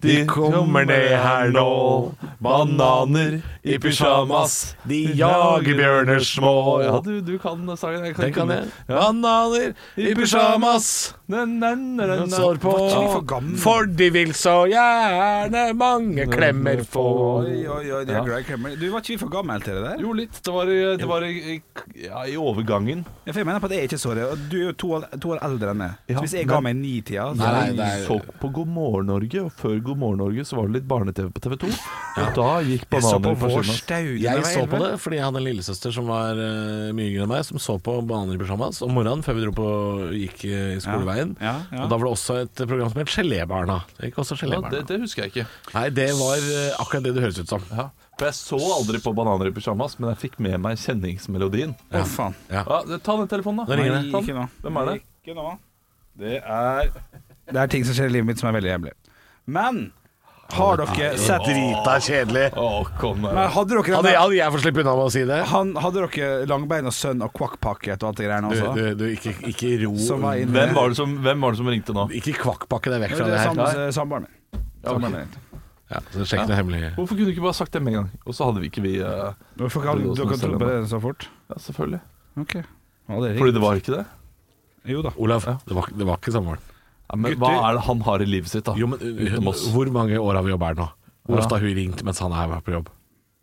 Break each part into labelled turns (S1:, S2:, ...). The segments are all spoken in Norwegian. S1: de kommer ned her nå. Bananer i pysjamas, de jager bjørner små. Ja, du, du kan sangen. Jeg
S2: Den kan jeg.
S1: Ja.
S2: Bananer i pysjamas.
S1: Na, na, na, na,
S2: Den
S1: na.
S2: står på.
S3: for gammel.
S2: For de vil så gjerne mange klemmer få.
S3: Oi, oi, oi, de er glad i klemmer. Du var ikke vi for gammel til det der?
S1: Jo, litt. Det var, i- det var i, i, ja, i overgangen.
S3: Ja, For jeg mener på at jeg er ikke så det. Du er jo to, år- to år eldre enn meg.
S1: Ja,
S3: Så hvis jeg
S1: men-
S3: ga meg ni-tida
S2: Nei,
S3: så...
S2: nei, det
S1: Jeg
S2: er-
S1: så på God morgen Norge, og før God morgen Norge så var det litt barne-TV på TV 2. Og da gikk
S3: Jeg så på
S1: bananer på
S3: vår
S1: skinna.
S3: staune
S2: Jeg
S3: vei,
S2: så på
S3: men-
S2: det fordi jeg hadde en lillesøster som var eh, mye yngre enn meg, som så på Bananer i pysjamas om morgenen før vi dro på gikk eh, i skoleveien.
S3: Ja, ja, ja.
S2: Og da var det også et program som het Gelébarna. Det gikk også
S1: Ja,
S2: Gelébarna.
S1: det, det husker jeg ikke.
S2: Nei, det var eh, akkurat det det høres ut som.
S1: Ja. For jeg så aldri på Bananer i pysjamas, men jeg fikk med meg kjenningsmelodien.
S3: Å, faen.
S1: Ja, ta den telefonen, da.
S2: Nå ringer
S1: Nei,
S2: det.
S1: ta den.
S3: Ikke nå.
S1: Hvem er det?
S3: Ikke nå.
S1: Det er
S3: Det er ting som skjer i livet mitt som er veldig jævlig. Men har dere sett
S2: Drita kjedelig.
S1: Å, kom her.
S3: Men hadde dere,
S2: Hadde, hadde jeg fått slippe unna med å si det?
S3: han, hadde dere Langbein og Sønn og Quackpacket og alt det greiene
S2: Du,
S3: også?
S2: du, du ikke, ikke ro
S3: Som var inne.
S1: Hvem var, det som, hvem var det som ringte nå?
S2: Ikke kvakkpakke deg vekk
S3: Det
S2: fra
S3: er
S2: det her.
S3: sam- samboeren min. Samboeren min.
S2: Ja, så sjekk det hemmelige.
S1: Hvorfor kunne du ikke bare sagt det med en gang? Og så hadde vi ikke vi eh,
S3: Hvorfor kan
S1: Det er jo
S3: dere
S1: som
S3: tro på det så fort?
S1: Ja, selvfølgelig.
S3: Ok. Ja, det er
S1: Fordi
S3: riktig.
S1: det var ikke det?
S3: Jo da.
S2: Olav, det var, det var ikke samboeren.
S1: Ja, men
S3: Gutter-
S1: hva er det han har i livet sitt, da?
S2: Jo, men øh, eh,
S1: Utenom oss.
S2: Hvor mange år har vi jobba her nå? Hvor
S1: Ja. Eh,
S2: ofte har hun ringt mens han er på jobb?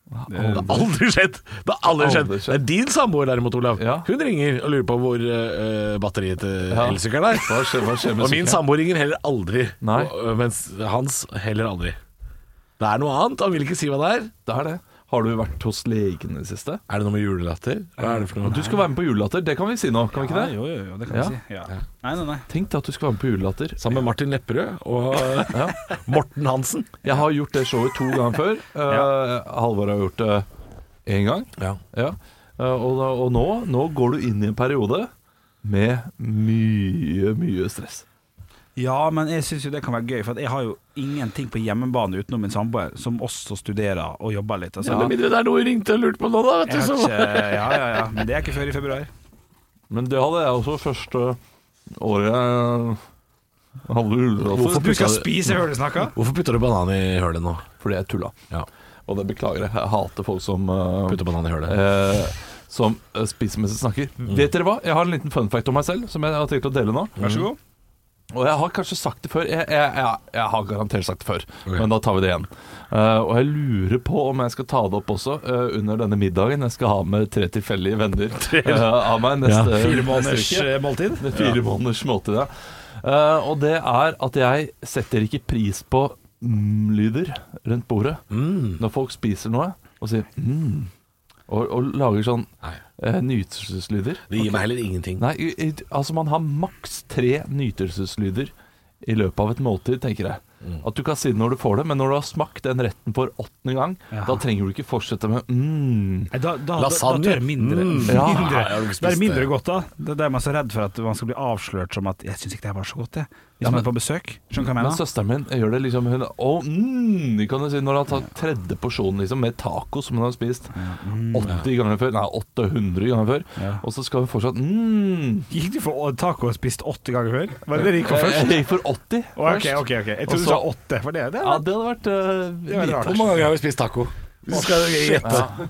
S2: Det har aldri skjedd! Det har aldri skjedd
S1: Aldri
S2: Det
S1: skjedd.
S2: er din samboer derimot, Olav.
S1: Ja.
S2: Hun ringer og lurer på hvor eh, batteriet til
S1: Ja.
S2: elsykkelen er.
S1: Hva skjer, hva skjer med
S2: Og min
S1: sykkelen?
S2: samboer ringer heller aldri.
S1: Nei.
S2: Og, eh, mens hans heller aldri. Det er noe annet, han vil ikke si hva det er.
S1: Det er det. Har du vært hos legen i det siste?
S2: Er det noe med julelatter? Hva er det for noe?
S1: Du skal være med på julelatter, det kan vi si nå, kan vi ikke
S3: Ja,
S1: det?
S3: jo, jo, jo, det kan
S1: Ja.
S3: jeg si. Ja. Nei, nei, nei.
S1: Tenk deg at du skal være med på julelatter.
S2: Sammen med Martin Lepperød og eh, Morten Hansen.
S1: Jeg har gjort det showet to ganger før. Eh, Halvor har gjort det én gang. Ja. Eh, og da, og nå, nå går du inn i en periode med mye, mye stress.
S3: Ja, men jeg syns jo det kan være gøy, for at jeg har jo ingenting på hjemmebane utenom min samboer, som også studerer og jobber litt. Altså.
S2: Ja. Med mindre det er noe hun ringte og lurte på nå, da. Vet du,
S3: Jeg har
S2: så.
S3: ikke, ja, ja, ja, men det er ikke før i februar.
S1: Men det hadde jeg også første året jeg hadde
S3: Hvorfor du
S1: julelatter.
S3: skal spise hører du snakker?
S2: Hvorfor putter du banan i hølet nå?
S1: Fordi jeg tulla.
S2: Ja.
S1: Og det beklager jeg. Jeg hater folk som eh,
S2: Putter banan i hølet.
S1: eh, som eh, spiser mens de snakker.
S2: Mm.
S1: Vet dere hva? Jeg har en liten fun fact om meg selv som jeg har tenkt å dele nå.
S3: Vær så god.
S1: Og jeg har kanskje sagt det før. Jeg, jeg, jeg, jeg har garantert sagt det før, men da tar vi det igjen. Eh, og jeg lurer på om jeg skal ta det opp også eh, under denne middagen jeg skal ha med tre tilfeldige venner eh, av meg neste
S3: Fire
S1: neste
S3: måneders
S1: uke.
S3: eh, måltid?
S1: Det er fire måneders måltid, ja. Eh, og det er at jeg setter ikke pris på mm-lyder rundt bordet.
S3: Mm.
S1: Når folk spiser noe og sier mm, og, og lager sånn eh, nytelseslyder.
S2: Det gir meg heller ingenting.
S1: Nei, i- i- altså man har maks tre nytelseslyder i løpet av et måltid, tenker jeg.
S3: Mm.
S1: At du kan si det når du får det, men når du har smakt den retten for åttende gang, da trenger du ikke fortsette med mm.
S3: Nei, Da, da, da, da
S2: Lasagne.
S3: tør mindre.
S2: Mm.
S3: mindre.
S1: Ja,
S2: jeg har ikke spist
S3: det er mindre
S2: det.
S3: godt, da. Det er der man er så redd for at man skal bli avslørt som at 'jeg syns ikke det her var så godt', jeg. Hvis
S1: Ja,
S3: man
S1: men-
S3: er på besøk. Skjønner du hva jeg
S1: Men
S3: mener?
S1: søsteren min gjør det liksom Hun «Å, mm, kan du si, Når hun har tatt tredje porsjonen liksom, med taco som hun har spist 80 ganger før Nei, 800 ganger før
S3: mm. Ja.
S1: Og så skal hun fortsatt mm.
S3: Gikk du for taco og spist åtte ganger før? Var det det du gikk for først?
S1: Jeg gikk for 80
S3: Å,
S1: først
S3: ok, ok, ok. Jeg
S1: Og
S3: trodde du
S1: så-
S3: sa åtte, for det er det. eh,
S1: Ja, det hadde vært
S3: Det er
S1: uh,
S3: rart.
S2: Hvor mange ganger har vi spist taco?
S3: Å, shit.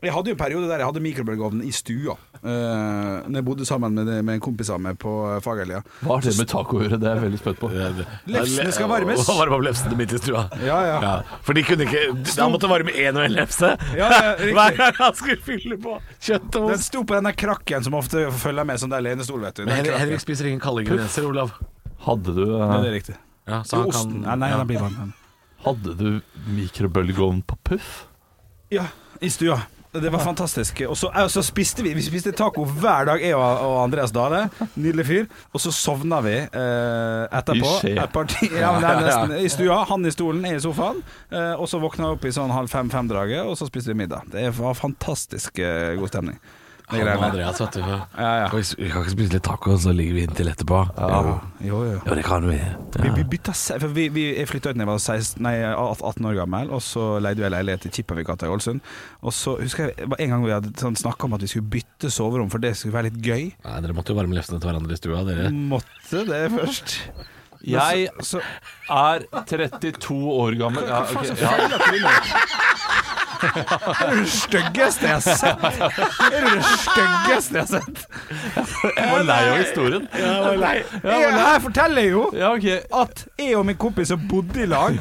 S3: Jeg hadde jo en periode der jeg hadde mikrobølgeovn i stua. Uh, når jeg bodde sammen med, med en kompis av meg på eh, Fagerlia.
S1: Hva har det med taco å gjøre? Det er jeg veldig spøtt på
S3: Lefsene skal varmes.
S2: Varme opp lefsene midt i stua.
S3: Ja, ja.
S2: For de kunne ikke Han måtte varme én og én lefse
S3: Ja, ja, riktig.
S2: hver gang han skulle fylle på kjøtt og
S3: Den
S2: ost.
S3: sto på den der krakken som ofte følger med sånn der lenestol, vet du. Den
S2: Henrik,
S3: krakken.
S2: Henrik spiser ingen kalde ingredienser, Olav.
S1: Hadde du, eh,
S3: Ja, det er riktig.
S2: Ja, så
S3: Jo,
S2: han kan-
S3: osten. Nei, nei,
S2: ja.
S3: den blir varm.
S1: hadde du mikrobølgeovn på puff?
S3: Ja, i stua. Det var fantastisk. Og så, og så spiste vi Vi spiste taco hver dag, jeg og, og Andreas Dale. Nydelig fyr. Og så sovna vi eh, etterpå.
S1: I skje.
S3: Et parti, ja, men det er nesten, I stua, han i stolen, jeg i sofaen. Eh, og så våkna jeg opp i sånn halv fem-fem-draget, og så spiste vi middag. Det var fantastisk eh, god stemning. Det
S2: Han og
S3: greiene.
S2: Andreas, vet du.
S3: Ja, ja.
S2: Kan Vi vi kan ikke spise litt taco, så ligger vi inntil etterpå. Jo.
S3: Jo, jo.
S2: jo, det kan vi.
S3: Vi, vi bytta se- for vi, vi, Jeg flytta ut da jeg var 16, nei, 18 år gammel, og så leide jeg leilighet i Kippavigata i Ålesund. Og så husker jeg det var en gang vi hadde sånn, snakka om at vi skulle bytte soverom, for det skulle være litt gøy.
S2: Nei, dere måtte jo varme lefsene til hverandre i stua,
S3: Mm.
S2: dere.
S3: Måtte det først.
S1: Jeg
S3: Så,
S1: er 32 år gammel. Ja, ok, ja.
S3: er du det styggeste jeg har sett? Er du det styggeste jeg har sett?
S1: Jeg var lei av historien.
S3: Jeg var lei. Her forteller jeg jo
S1: Ja, ok.
S3: at jeg og min kompis som bodde i lag,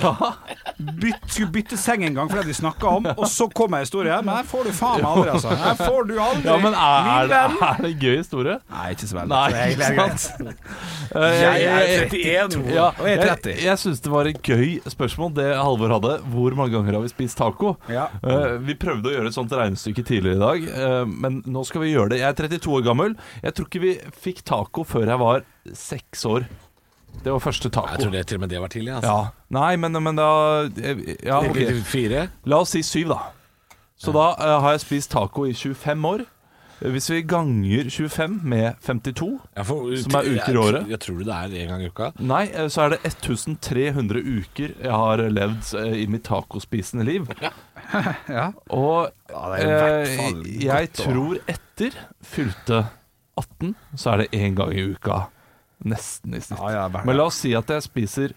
S3: byt, skulle bytte seng en gang fordi vi snakka om, og så kom ei historie her. Men her får du faen meg aldri, altså. Her får du aldri
S1: Ja, men er,
S3: min venn.
S1: det- er det en gøy historie?
S3: Nei, ikke så veldig.
S1: Nei,
S3: Så det er egentlig
S1: ikke
S3: greit.
S1: Jeg
S3: er
S2: 31.
S1: Ja,
S3: Og jeg er 30.
S1: Jeg, jeg syns det var et gøy spørsmål, det Halvor hadde. Hvor mange ganger har vi spist taco?
S3: Ja.
S1: Eh, vi prøvde å gjøre et sånt regnestykke tidligere i dag, eh, men nå skal vi gjøre det. Jeg er 32 år gammel. Jeg tror ikke vi fikk taco før jeg var seks år. Det var første taco.
S2: Jeg tror det til og med det var tidlig, altså.
S1: Ja. Nei, men, men da eh, Ja, ok.
S2: Fire?
S1: La oss si syv, da. Så da eh, har jeg spist taco i 25 år. Hvis vi ganger 25 med 52
S2: Ja, for- uh,
S1: Som er uker i
S2: Jeg-
S1: året.
S2: Jeg, tror det er en gang i uka.
S1: Nei, eh, så er det 1300 uker jeg har levd eh, i mitt tacospisende liv. Og
S3: Ja, det er i hvert
S1: eh,
S3: fall
S1: jeg
S3: godt å-
S1: tror etter fylte 18, så er det én gang i uka. Nesten i snitt.
S3: Ja, ja, hver-
S1: Men la oss si at jeg spiser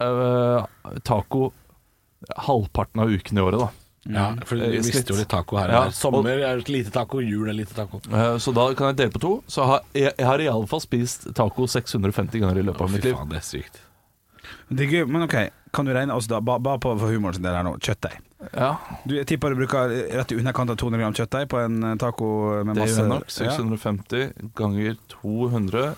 S1: eh, taco halvparten av ukene i året, da.
S2: Ja, for
S1: Eh,
S2: vi
S1: snitt.
S2: mister jo litt taco her. og
S1: Ja,
S2: der. Sommer er lite taco, jul er lite taco.
S1: Eh, Så da kan jeg dele på to. Så har, jeg, jeg har iallfall spist taco 650 ganger i løpet av
S2: Fy
S1: mitt liv.
S2: faen, det er sykt.
S3: Det er gøy, men ok, kan du regne oss da, bare ba på for humoren sin del her nå, kjøttdeig.
S1: Ja,
S3: Du, jeg tipper du bruker rett i underkant av 200 gram kjøttdeig på en eh, taco med
S1: det gjør
S3: masse
S1: jeg nok. sånn-
S3: Ja.
S1: 650 ganger 200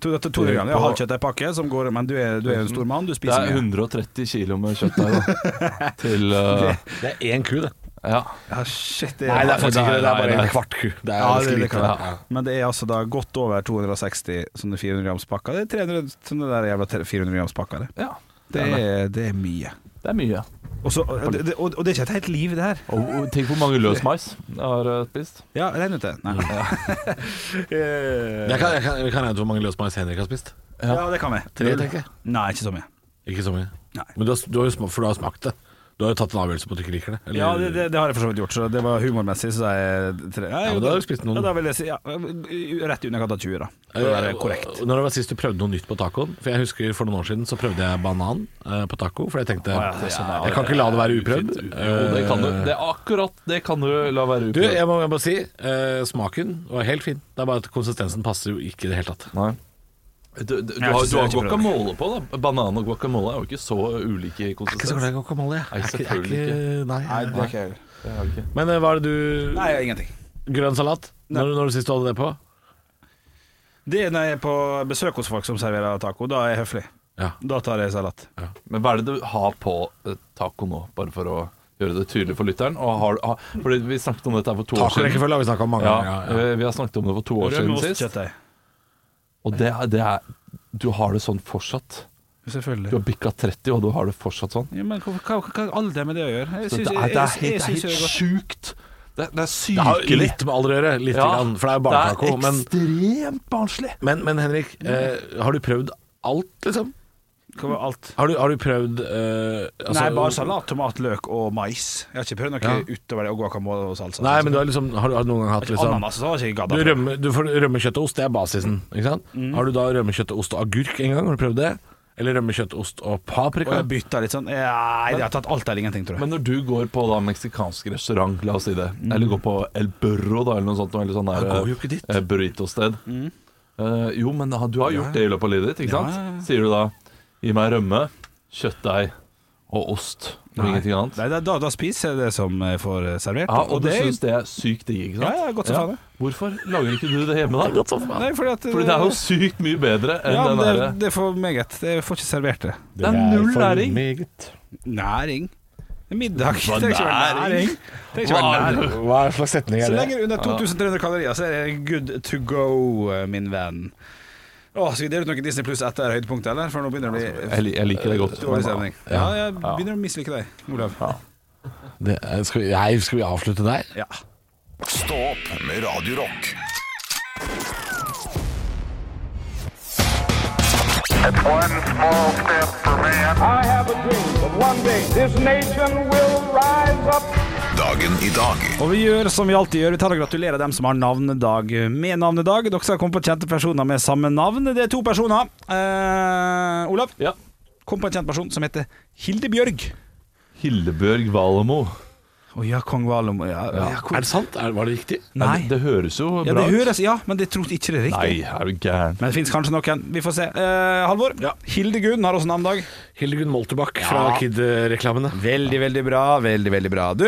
S3: To- dette er 200 gram, det er halv kjøttdeigpakke som går, men du er, du er en stor mann, du
S1: Det er
S3: spiser mye.
S1: 130 kilo med kjøtt der, da. Til eh,
S2: Det er én ku, det.
S1: Ja.
S3: Ja, shit, det
S2: Nei, det er
S1: faktisk
S2: faktisk
S1: ikke det,
S2: det.
S1: det er
S2: er
S1: bare
S2: bare
S1: en
S2: en kvart ku. Det er
S3: ja, det, det kan
S2: ja.
S3: være. Men det er altså da godt over 260 sånne 400 grams pakker. Det er 300 sånne der jævla 400 grams pakker. Det,
S1: ja.
S3: det, er, det er mye.
S1: Det er mye.
S3: Og, så, og, det, og, og det er ikke et helt liv, det her.
S1: Og, og tenk hvor mange løs mais jeg har eh, spist.
S3: Ja, regn ut det. Nei.
S2: Jeg kan, jeg kan, jeg kan regne ut hvor mange løsmeis Henrik har spist.
S3: Ja, det kan vi.
S2: Tre, tenker jeg.
S3: Nei, ikke så mye.
S2: Ikke så mye.
S3: Nei.
S2: Men du har, du har jo sma- for du har smakt det. Du har jo tatt en avgjørelse på at du ikke liker det. eller-
S3: Ja, det, det, det har jeg for så vidt gjort, så det var humormessig. Så sa jeg tre.
S2: Ja, men da har du spist noen.
S3: Ja, da vil jeg si ja, rett i underkant av 20, da.
S2: Eh,
S3: For å være korrekt.
S2: Når det var sist du prøvde noe nytt på tacoen? For jeg husker For noen år siden så prøvde jeg banan eh, på taco, for jeg tenkte
S3: ja, det er sånn, ja,
S2: Jeg kan ikke la det være uprøvd.
S1: Jo, det kan du. Det er akkurat det kan du la være
S2: Eh. Du,
S1: uprøvd.
S2: jeg må jeg må bare si eh, smaken var helt fin. Det er bare at konsistensen passer jo ikke i det hele tatt.
S1: Nei. Du, du, du,
S3: har
S1: har,
S3: ikke-
S1: du har
S3: jeg har ikke prøvd.
S1: guacamole på, da. Banan og guacamole er jo ikke så ulike i konsistens.
S2: i guacamole. jeg.
S1: Nei,
S2: Jeg er ikke- jeg er
S1: selvfølgelig
S2: ikke- Nei,
S3: Nei, det er
S2: nei.
S3: ikke jeg.
S2: Men eh, hva er det du
S3: Nei, ingenting.
S2: Grønn salat? Når, når du sist du hadde det på?
S3: Det er når jeg er på besøk hos folk som serverer taco. Da er jeg høflig.
S2: Ja.
S3: Da tar jeg salat.
S1: Men hva er det du har på eh, taco nå, bare for å gjøre det tydelig for lytteren? Og har, har, fordi vi snakket om dette her for to år siden.
S2: Tacorekkefølge har vi snakka om mange
S1: Ja,
S2: ganger. Ja,
S1: eh, Vi har snakket om det for to år siden
S3: Rømmeost,
S1: sist.
S3: kjøttdeig.
S1: Og det, er- det er Du har det sånn fortsatt. Du
S3: Selvfølgelig.
S1: har bikka 30, og du har det fortsatt sånn.
S3: Ja, men hva, hva, hva har alder med det å gjøre? Jeg
S1: Så
S3: syns
S1: det,
S3: jeg-
S1: er, det er
S3: jeg- jeg
S1: helt,
S3: syns
S1: det er
S3: jo det
S1: helt
S3: er godt.
S1: sjukt. Det, det er
S2: Det har jo
S1: sykelig.
S2: litt med alder å gjøre, lite grann, for det er jo barnetaco.
S1: det er
S2: Men,
S1: ekstremt barnslig.
S2: men, men Henrik, eh, har du prøvd alt, liksom?
S3: Hva var alt?
S2: Har du, har du prøvd eh, altså-
S3: Nei, bare salat, tomat, løk og mais. Jeg har ikke prøvd noe
S2: Ja.
S3: utover det. Og guacamole og salsa.
S2: Nei, men du har, liksom, har, du- har du noen gang hatt liksom
S3: Ananas så har jeg ikke
S2: du
S3: gadda. på.
S2: rømme, du får rømme, kjøtt og ost, det er basisen. Ikke sant?
S3: Mm.
S2: Har du da rømme, kjøtt og ost og agurk en gang? Har du prøvd det? Eller rømme, kjøtt, ost og
S3: Og
S2: paprika?
S3: jeg bytta litt sånn Nei, jeg har tatt alt eller ingenting, tror jeg.
S1: Men når du går på da meksikansk restaurant, la oss si det, eller går på El Burro da, eller noe sånt, eller sånn der
S2: Jeg går jo ikke dit.
S1: eh, burrito-sted.
S3: Mm.
S1: Eh, jo, men ha- du har gjort det i løpet av livet ditt, ikke sant? Sier du da, gi meg rømme, kjøttdeig og ost, og ingenting annet.
S3: Nei, da, da, da spiser jeg det som jeg får eh, servert.
S1: Ja, og, du synes det er sykt digg, ikke sant?
S3: Ja, ja, godt som faen, det.
S1: Hvorfor lager ikke du det hjemme da?
S3: Nei, fordi at eh,
S1: Fordi det er jo sykt mye bedre enn
S3: ja, men
S1: den
S3: det,
S1: derre
S3: er- det er for meget. Jeg får ikke servert det.
S1: Det er null læring.
S3: Næring. Det er Middag.
S1: Hva
S3: Trenger ikke være
S1: næring?
S3: næring. Trenger ikke
S1: Hva
S3: være
S1: er
S3: næring.
S2: Hva er slags setning
S3: Så lenge det er under 2300 kalorier, så er det good to go, eh, min venn. Å, skal vi dele ut noe Disney Pluss etter høydepunktet, eller? For nå begynner det å bli
S1: Altså, Jeg, li- jeg liker det godt.
S3: dårlig stemning. Ja, jeg begynner å mislike deg, Olav.
S2: Det, er- skal, vi, nei, skal vi avslutte der?
S3: Ja.
S4: Stå opp med Radio Rock.
S5: One small step for man.
S6: I have a dream that one day this nation will rise up.
S4: Dagen i dag
S3: Og vi gjør som vi alltid gjør, vi tar og gratulerer dem som har navnedag med navnedag. Dere skal komme på kjente personer med samme navn. Det er to personer. Eh, Olav,
S1: Ja.
S3: kom på en kjent person som heter Hildebjørg.
S1: Hildebjørg Valemo.
S3: Å ja, kong Valom. Ja, ja.
S2: Er det sant? Er, var det riktig?
S3: Nei.
S1: Det, det høres jo
S3: Ja,
S1: bra
S3: det
S1: ut.
S3: høres, ja, men det tror jeg ikke det er riktig.
S1: Nei, er du gæren.
S3: Men det fins kanskje noen. Vi får se. Eh, Halvor, Hildegunn har også navnedag.
S2: Hildegunn Molterbakk fra Kid-reklamene.
S3: Veldig, veldig bra. Veldig, veldig bra. Du,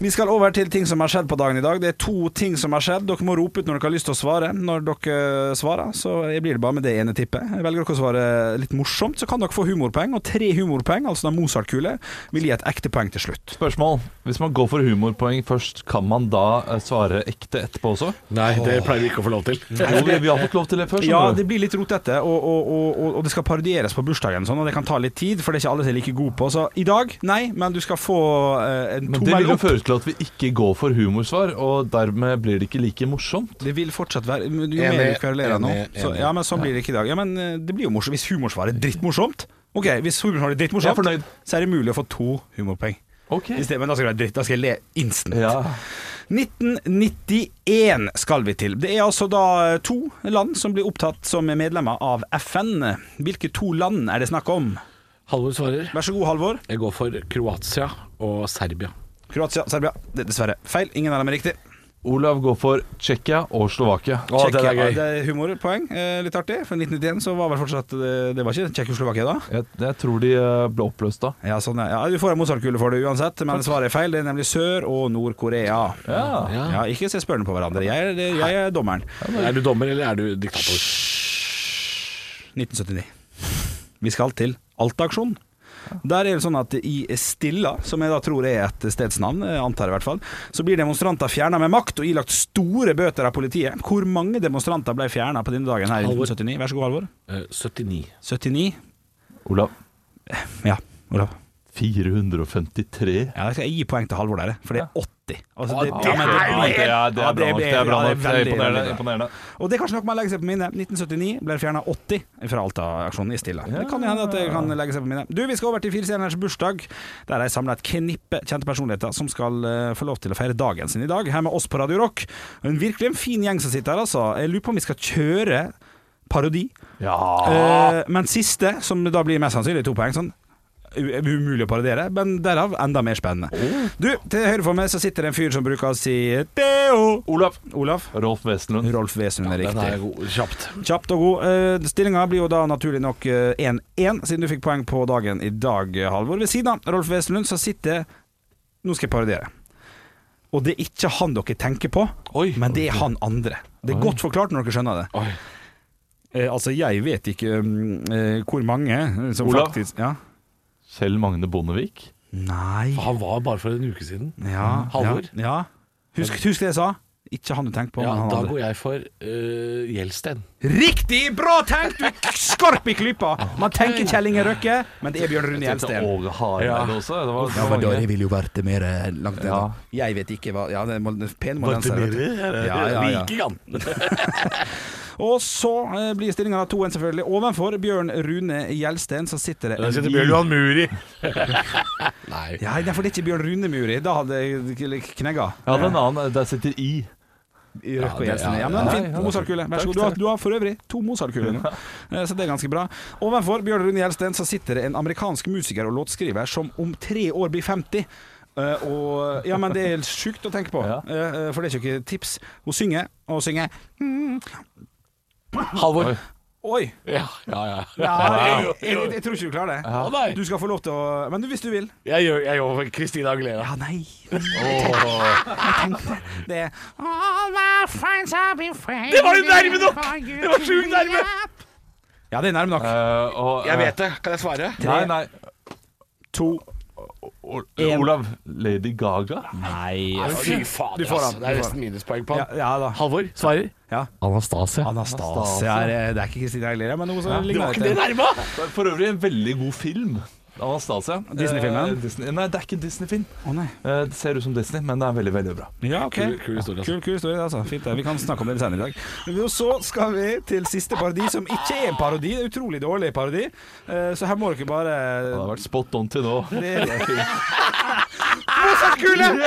S3: vi skal over til ting som har skjedd på dagen i dag. Det er to ting som har skjedd. Dere må rope ut når dere har lyst til å svare. Når dere eh, svarer, så blir det bare med det ene tippet. Velger dere å svare litt morsomt, så kan dere få humorpoeng. Og tre humorpoeng, altså en Mozart-kule, vil gi et ekte poeng til slutt.
S1: Spørsmål. Hvis man går for humorpoeng først, kan man da eh, svare ekte etterpå også?
S2: Nei, det pleier vi ikke å få lov til.
S1: Jo, vi, vi har fått lov til det før.
S3: Ja,
S1: skjønner du.
S3: det blir litt rotete, og, og, og, og- og det skal parodieres på bursdagen, sånn, og det kan ta litt tid, for det er ikke alle som er like gode på. Så i dag, nei, men du skal få eh, en
S1: Men det vil
S3: tommel
S1: jo
S3: opp.
S1: føre til at vi ikke går for humorsvar, og dermed blir det ikke like morsomt.
S3: Det vil fortsatt være men Jo
S2: Enig,
S3: mer du kverulerer nå,
S2: enig,
S3: så,
S2: enig.
S3: ja, men sånn blir det ikke i dag. Ja, men eh, det blir jo morsomt. Hvis humorsvaret er drittmorsomt Ok, hvis humorsvaret er
S1: Jeg er
S3: drittmorsomt,
S1: fornøyd.
S3: så er det mulig å få to humorpoeng.
S1: Ok.
S3: I stedet, men da skal det være dritt. Da skal jeg le instant.
S1: Ja.
S3: 1991 skal vi til. Det er altså da to land som blir opptatt som medlemmer av FN. Hvilke to land er det snakk om?
S2: Halvor svarer.
S3: Vær så god, Halvor.
S2: Jeg går for Kroatia og Serbia.
S3: Kroatia, Serbia. Det er dessverre feil. Ingen av dem er riktig.
S1: Olav går for Tsjekkia og Slovakia.
S2: Å, den er
S3: Tsjekkia,
S2: gøy.
S3: Det er humorpoeng. Eh, litt artig. For 1991 så var vel fortsatt eh, Det var ikke Tsjekkoslovakia da?
S1: Jeg, jeg tror de eh, ble oppløst da.
S3: Ja, sånn, ja. ja, Du får en Mozart-kule for det uansett, men svaret er feil. Det er nemlig Sør- og Nord-Korea. Ja.
S2: Ja.
S3: Ikke se spørrende på hverandre. Jeg er, det- jeg er dommeren.
S2: Er du dommer, eller er du diktator?
S3: 1979. Vi skal til Alta-aksjonen. Der er det sånn at i Stilla, som jeg da tror er et stedsnavn, jeg antar i hvert fall, så blir demonstranter fjerna med makt og ilagt store bøter av politiet. Hvor mange demonstranter ble fjerna på denne dagen her i
S2: Halvor.
S3: 1979? Vær så god, Halvor.
S2: Eh, 79.
S3: 79?
S1: Olav,
S3: Ja, Olav.
S1: 453.
S3: Ja, jeg skal gi poeng til Halvor der, for det er 80. Altså, det,
S1: Ja,
S3: men blir-
S1: det er- det
S3: ja,
S1: er bra nok. Det er bra
S3: ja,
S1: nok.
S3: det
S1: Det er
S3: veldig, veldig
S1: Imponerende.
S3: bra.
S1: imponerende.
S3: Og det er kanskje noe man legger seg på minnet. 1979 ble det fjerna 80 fra Alta-aksjonen i Stilla. Det kan jo hende at det kan legge seg på minnet. Du, vi skal over til firestjerners bursdag, der de samler et knippe kjente personligheter som skal eh, få lov til å feire dagen sin i dag, her med oss på Radio Rock. En virkelig en fin gjeng som sitter her, altså. Jeg lurer på om vi skal kjøre parodi.
S2: Ah.
S3: Eh, men siste, som da blir mest sannsynlig to poeng, sånn u- Umulig å parodiere, men derav enda mer spennende.
S2: Oh.
S3: Du, til høyre for meg så sitter det en fyr som bruker å si Theo.
S1: Olav.
S3: Olav.
S1: Rolf Wesenlund.
S3: Rolf Vesund er
S2: Den
S3: riktig.
S2: er god. Kjapt.
S3: Kjapt og god. Uh, Stillinga blir jo da naturlig nok eh, 1-1, siden du fikk poeng på dagen i dag, eh, Halvor. Ved siden av Rolf Wesenlund så sitter Nå skal jeg parodiere. Og det er ikke han dere tenker på,
S2: Oi.
S3: men det er han andre. Det er godt forklart når dere skjønner det.
S2: Oi.
S3: Eh, altså, jeg vet ikke mm, eh, hvor mange som
S1: Olav?
S3: faktisk ja.
S1: Kjell Magne Bondevik.
S3: Nei
S2: Han var bare for en uke siden.
S3: ja,
S2: Halvor?
S3: Ja, ja. Husk, husk det jeg sa. Ikke han du tenker på,
S2: Ja,
S3: men han
S2: da
S3: andre.
S2: går jeg for eh, Gjelsten.
S3: Riktig bra tenkt! Du er skarp i klypa! Man tenker Kjell Inge Røkke, men det er Bjørn Rune
S1: Tenkte
S3: Gjelsten.
S1: Åge Hareide også. Det var, det var mange.
S3: vil jo vært mer eh, langt
S1: Ja.
S3: Jeg vet ikke hva Ja, det må, pen må den servere.
S2: Eh,
S3: Ja, ja, ja. Og så eh, blir stillinga 2-1, selvfølgelig. Ovenfor Bjørn Rune Gjelsten så sitter det en ny-
S2: Muri. Nei.
S3: Ja, nei, for det er ikke Bjørn Rune Muri. Da hadde jeg knegga.
S1: Jeg hadde en annen. Der sitter I.
S3: I Røkke og
S2: Ja, det-
S3: Gjelsten.
S2: ja,
S3: Ja, men
S1: ja.
S3: fint. Mozartkule. Vær så god. Du har, du har for øvrig to Mozartkuler nå, Eh, så det er ganske bra. Ovenfor Bjørn Rune Gjelsten så sitter det en amerikansk musiker og låtskriver som om tre år blir 50. Eh, og, ja, men det er sjukt å tenke på,
S1: Ja.
S3: Eh, eh, for det er ikke tips. Hun synger og synger
S2: Halvor.
S1: Oi.
S3: Oi!
S2: Ja, ja, ja.
S3: Ja, jeg, jeg, jeg, jeg tror ikke du klarer det.
S2: Å, nei.
S3: Du skal få lov til å Men du, hvis du vil.
S2: Jeg gjør, jeg gjør for Christina Aguilera.
S3: Ja, nei. Jeg tenkte det. er All my friends have been friends
S2: Det var jo nærme nok! Det var sjukt nærme!
S3: Ja, det er nærme nok.
S1: Eh, og, eh,
S2: Jeg vet det. Kan jeg svare?
S1: Nei, nei.
S3: To.
S1: O- Olav. Lady Gaga.
S3: Nei
S2: Fy fader,
S3: får
S2: altså.
S3: den,
S2: Det er
S3: du får
S2: nesten minuspoeng på
S3: Ja,
S2: han.
S3: ja da.
S2: Halvor svarer
S3: Ja.
S2: Anastasia.
S3: eh, Anastasia er, Det er ikke Christina Aguilera, men noe som ligner
S2: nærme!
S1: For øvrig en veldig god film. Anastasia.
S3: Disney-filmen?
S1: Eh, Disney. Nei, det er ikke en Disney-film.
S3: Å nei.
S1: Eh, det ser ut som Disney, men det er veldig, veldig bra.
S3: Ja, ok.
S2: Kul- kul historie, altså.
S3: Kul, kul historie, altså. Fint det. Vi kan snakke om det litt senere i dag. Men Så skal vi til siste parodi, som ikke er en parodi. Det er utrolig dårlig parodi. Eh, Så her må dere bare
S1: Det har vært spot on til nå.
S3: Mozartkule!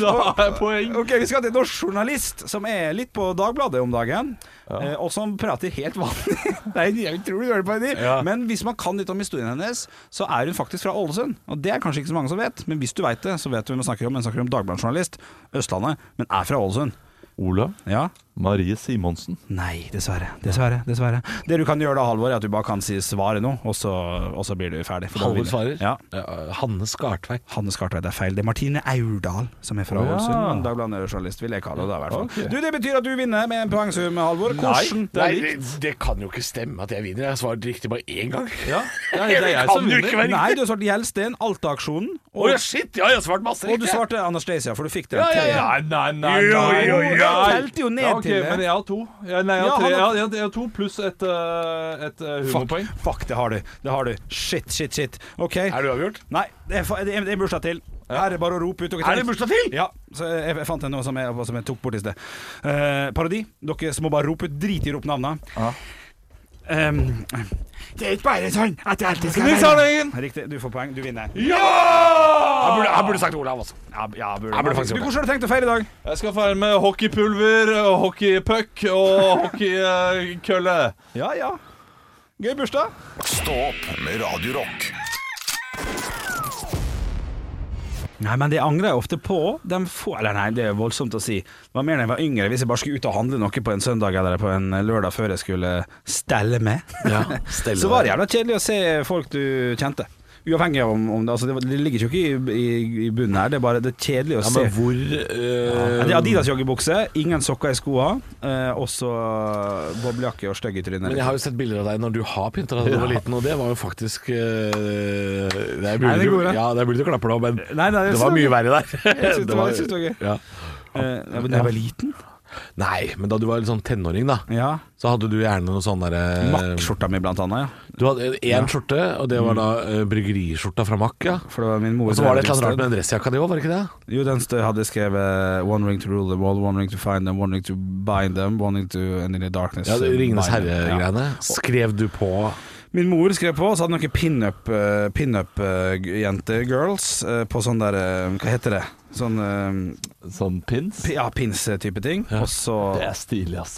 S1: Da har jeg poeng!
S3: Ok, Vi skal til en norsk journalist som er litt på Dagbladet om dagen, eh, og som prater helt vanlig. Det er en utrolig dårlig parodi.
S1: Ja.
S3: Men hvis man kan litt om historien hennes, så er hun faktisk fra Ålesund. Og Det er kanskje ikke så mange som vet, men hvis du vet det, så vet du hvem vi snakker om. Hun snakker om Dagbladet-journalist, Østlandet, men er fra Ålesund.
S1: Olav
S3: Ja,
S1: Marie Simonsen.
S3: Nei, dessverre. Dessverre. dessverre Det du kan gjøre da, Halvor, er at du bare kan si svaret nå, og så, og så blir du ferdig. for da
S2: Halvor
S3: vinner.
S2: svarer.
S3: Ja.
S2: Eh, Hanne Skartveit.
S3: Hanne Skartveit er feil. Det er Martine Aurdal som er fra
S1: Å, ja.
S3: Ålesund. Men Dagbladet er journalist, vil jeg kalle det. da, i hvert fall
S1: Ok.
S3: Du, Det betyr at du vinner med en poengsum, Halvor. Hvordan?
S1: det er
S2: det,
S1: likt.
S2: det kan jo ikke stemme at jeg vinner. Jeg har svart riktig bare én gang.
S1: Ja, det er, det er jeg
S2: Kan
S1: som
S2: du ikke
S1: vinner.
S2: være-
S3: Nei, du har svart Gjelsten, Alta-aksjonen,
S2: Å
S3: og,
S2: ja, shit! Ja, jeg har svart masse
S3: og du
S2: riktig.
S3: svarte Anastacia, for du fikk den.
S2: Ja, ja, ja.
S1: Nei, nei, nei.
S2: Jo, jo, jo.
S3: Jeg telte jo ned
S1: ja, ok,
S3: til det.
S1: Men jeg har to. Ja, nei, jeg
S3: Ja,
S1: har, tre.
S3: han
S1: Jeg
S3: har-
S1: har, jeg har to pluss et, eh, et eh,
S3: Fuck,
S1: humorpoeng.
S3: fuck, det har du. Det har du. Shit, shit, shit. OK.
S2: Er du avgjort?
S3: Nei, det er, fa- det er det er en bursdag til. Her er det bare å rope ut. dere
S2: Er det
S3: trenger-
S2: bursdag til?
S3: Ja, så jeg, jeg fant en nå som jeg, som jeg tok bort i sted. Eh, parodi. Dere som må bare rope ut. Drit i å rope navnet.
S1: Ja.
S3: Ehm, det er ikke bare sånn at det alltid skal
S1: Nils Arne Eggen!
S3: Riktig, du får poeng. Du vinner.
S2: Han burde, han burde sagt Olav, altså.
S3: Ja, ja, burde,
S2: Jeg burde faktisk
S3: du,
S2: gjort det.
S3: hvordan har du tenkt å feire i dag?
S1: Jeg skal feire med hockeypulver, og hockeypuck og eh, hockeykølle.
S3: Ja, ja. Gøy bursdag.
S4: Stå opp med Radio Rock.
S3: Nei, men det angrer jeg ofte på. De få, eller nei, det er voldsomt å si. Det var mer da jeg var yngre, hvis jeg bare skulle ut og handle noe på en søndag eller på en lørdag før jeg skulle stelle med. Så var det jævla kjedelig å se folk du kjente. Uavhengig av om, om det, altså det, var- det ligger jo ikke i, i, i bunnen her, det er bare det er kjedelig å
S2: Ja,
S3: se.
S2: men hvor
S3: Ja,
S2: eh,
S3: Det er Adidas joggebukse, ingen sokker i skoa, eh, også boblejakke og stygg i trynet.
S2: Men jeg har jo sett bilder av deg når du har pynta deg da du var liten, og det var jo faktisk eh, Det er mulig,
S3: Nei, det er
S2: du-
S3: gode.
S2: ja, det er mulig du klapper nå, men
S3: Nei, nei,
S2: det var mye verre der.
S3: Jeg synes det var- jeg synes det var gøy. Eh,
S2: Ja.
S3: Da jeg var liten?
S2: Nei, men da du var litt sånn tenåring, da,
S3: Ja.
S2: så hadde du gjerne noe sånn derre
S3: Mack-skjorta mi, blant annet. Ja.
S2: Du hadde én skjorte, og det var da eh, bryggeriskjorta fra Mack, ja.
S3: For det var min mor
S2: Og så var det et eller annet rart med den dressjakka di òg, var det ikke det?
S3: Jo, den stø- hadde skrevet eh, 'One ring to rule them all, one ring to find them, one ring to bind them, one ring to end in the darkness'.
S2: Ja, det
S3: eh,
S2: Ringenes
S3: bind them». Ja.
S2: herre-greiene. Skrev du på
S3: Min mor skrev på, og så hadde noen pinup uh, Pinup eh, g- jenter, girls, eh, på sånn der eh, Hva heter det? Sånn eh,
S1: Sånn pins.
S3: pi- ja, pins-type ting. Og så
S1: Det er stilig, ass.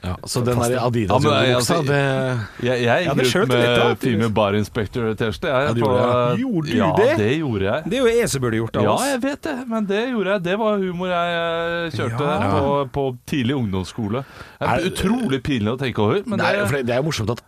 S2: ja, Så den der
S1: Ja, men,
S2: Adidas-joggebuksa,
S1: altså,
S2: det
S1: Jeg, jeg
S3: Ja, det
S1: gikk
S3: skjølte
S1: ut med
S3: litt, da.
S1: Female Bar Inspector-T-skjorte. jeg,
S2: Ja, det
S1: på-
S2: gjorde
S3: Gjorde du
S1: ja,
S3: det?
S1: det gjorde jeg.
S3: Det er jo jeg som burde gjort det av
S1: Ja,
S3: oss.
S1: jeg vet det, men det gjorde jeg. Det var humor jeg eh, kjørte
S3: Ja.
S1: på, på tidlig ungdomsskole. Det
S2: Er
S1: er
S2: det-
S1: utrolig pinlig å tenke over, men
S2: det, er,
S1: det,
S2: for det, det er jo morsomt at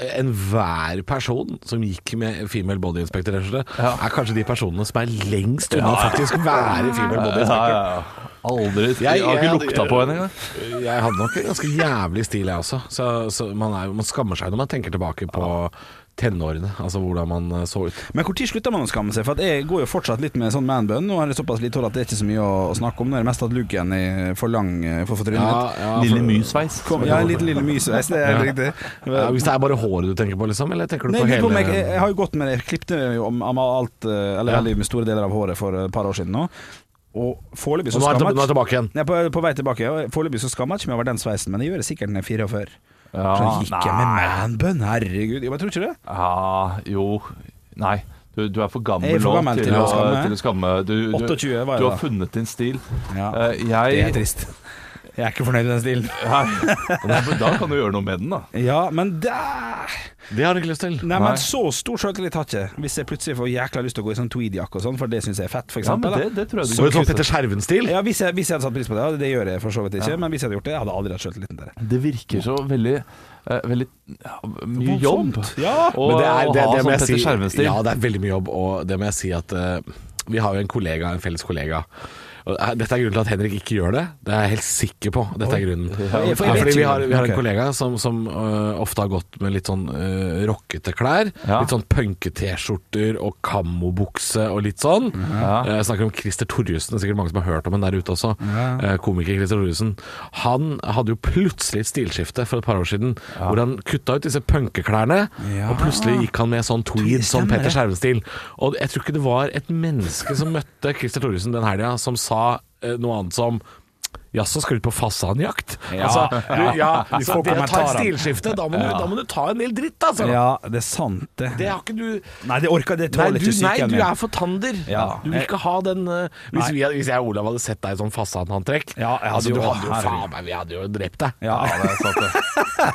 S2: eh, enhver person som gikk med female body inspector, rett og slett,
S1: Ja.
S2: er kanskje de personene som er lengst unna å faktisk være female
S1: Ja,
S2: body inspector.
S1: ja, ja. Aldri Jeg, har ikke
S2: hadde-
S1: lukta på henne engang.
S2: Jeg hadde nok en ganske jævlig stil, jeg også. Så, så man, er, jo- man skammer seg når man tenker tilbake på tenårene, altså hvordan man eh, så ut.
S3: Men når slutter man å skamme seg? For at jeg går jo fortsatt litt med sånn manbun. Nå er det såpass lite hår at det er ikke så mye å å snakke om. Nå er det mest at luggen er for lang eh, for å få trynet mitt.
S1: Lille mysveis.
S3: Kom, ja, en liten lille mysveis, det er helt riktig.
S2: ja, hvis det er bare håret du tenker på, liksom? Eller tenker du
S3: Nei,
S2: på
S3: jeg, lurer på om jeg,
S2: hele
S3: jeg har jo gått med det. Jeg klippte jo om, om alt, eh, eller
S2: Ja.
S3: veldig med store deler av håret for et par år siden nå. Og foreløpig
S2: Og
S3: så
S2: nå er
S3: skammer
S2: det- nå
S3: jeg
S2: er det
S3: ikke-
S2: tilbake igjen.
S3: Nei, på, på vei tilbake. og Foreløpig så skammer jeg ikke meg over den sveisen, men jeg gjør det sikkert når jeg er 44.
S1: Ja,
S3: Så jeg gikk jeg med manbun, herregud. Jo, men Jeg tror ikke det.
S1: Ja, jo Nei. Du, du er for gammel,
S3: Jeg er for
S1: nå
S3: gammel
S1: til, å, til å skamme. Du, du,
S3: 28 var jeg
S1: du har
S3: da.
S1: funnet din stil.
S3: Ja,
S1: Eh,
S3: det
S1: jeg
S3: er trist. Jeg er ikke fornøyd med den stilen.
S1: Nei, men Da kan du gjøre noe med den, da.
S3: Ja, men der
S2: Det har du ikke lyst til.
S3: Nei,
S1: Nei.
S3: men så stor sjøltillit har ikke jeg. Hvis jeg plutselig får jækla lyst til å gå i sånn tweedjakke og sånn, for det syns jeg er fett, for
S1: Ja, men
S3: eksempel.
S1: det,
S3: da.
S1: det tror jeg du
S2: Så
S1: kan
S2: litt sånn
S1: kutte.
S2: Petter Skjerven-stil.
S3: ja, hvis, jeg, hvis jeg hadde satt pris på det, og det gjør jeg for så vidt ikke, men hvis jeg hadde gjort det, jeg hadde aldri hatt sjøltilliten til det.
S1: Det virker så veldig eh, Veldig ja, mye jobb.
S3: Ja.
S1: Og,
S2: Men det er, det,
S1: å ha
S2: det
S1: sånn
S2: må jeg
S1: Petter
S2: si,
S1: Skjerven-stil.
S2: ja, det er veldig mye jobb, og det må jeg si at eh, vi har jo en kollega, en felles kollega. Og, eh, Dette er grunnen til at Henrik ikke gjør det. Det er jeg helt sikker på. Dette er grunnen.
S3: jeg
S2: Ja,
S3: vet
S2: fordi vi
S3: ikke.
S2: har, vi har en
S3: Ok.
S2: kollega som, som øh, ofte har gått med litt sånn øh, rockete klær.
S1: Ja.
S2: Litt sånn punke-T-skjorter og kammobukse og litt sånn.
S1: Ja.
S2: Eh, Jeg snakker om Christer Torjussen, det er sikkert mange som har hørt om han der ute også. Eh, Komiker Christer Torjussen. Han hadde jo plutselig et stilskifte for et par år siden, hvor han kutta ut disse punkeklærne,
S3: Ja.
S2: og plutselig gikk han med sånn tweed, sånn
S3: Stemmer det.
S2: Petter Skjerven-stil. Og jeg tror ikke det var et menneske som møtte Christer Torjussen den helga, som sa eh, noe annet som Jaså, skal du ut på fasanjakt?
S3: Ja.
S2: Altså, du, ja,
S3: Vi
S2: så
S3: får
S2: det tar
S3: kommentarer.
S2: stilskifte. Da må, du, da må du ta en del dritt, altså.
S3: Ja, det er sant, det.
S2: Det har ikke du
S3: Nei, det orker det
S2: Nei
S3: tåler
S2: du,
S3: ikke
S2: nei,
S3: sykehjemmet.
S2: du er for tander.
S3: Ja.
S2: Du vil ikke ha den eh, hvis,
S3: Nei.
S2: vi, hadde- hvis jeg og Olav hadde sett deg i sånn fasanantrekk
S3: Ja, jeg hadde
S2: altså,
S3: jo-
S2: Du hadde jo
S3: herregud.
S2: faen meg Vi hadde jo drept deg.
S3: Ja.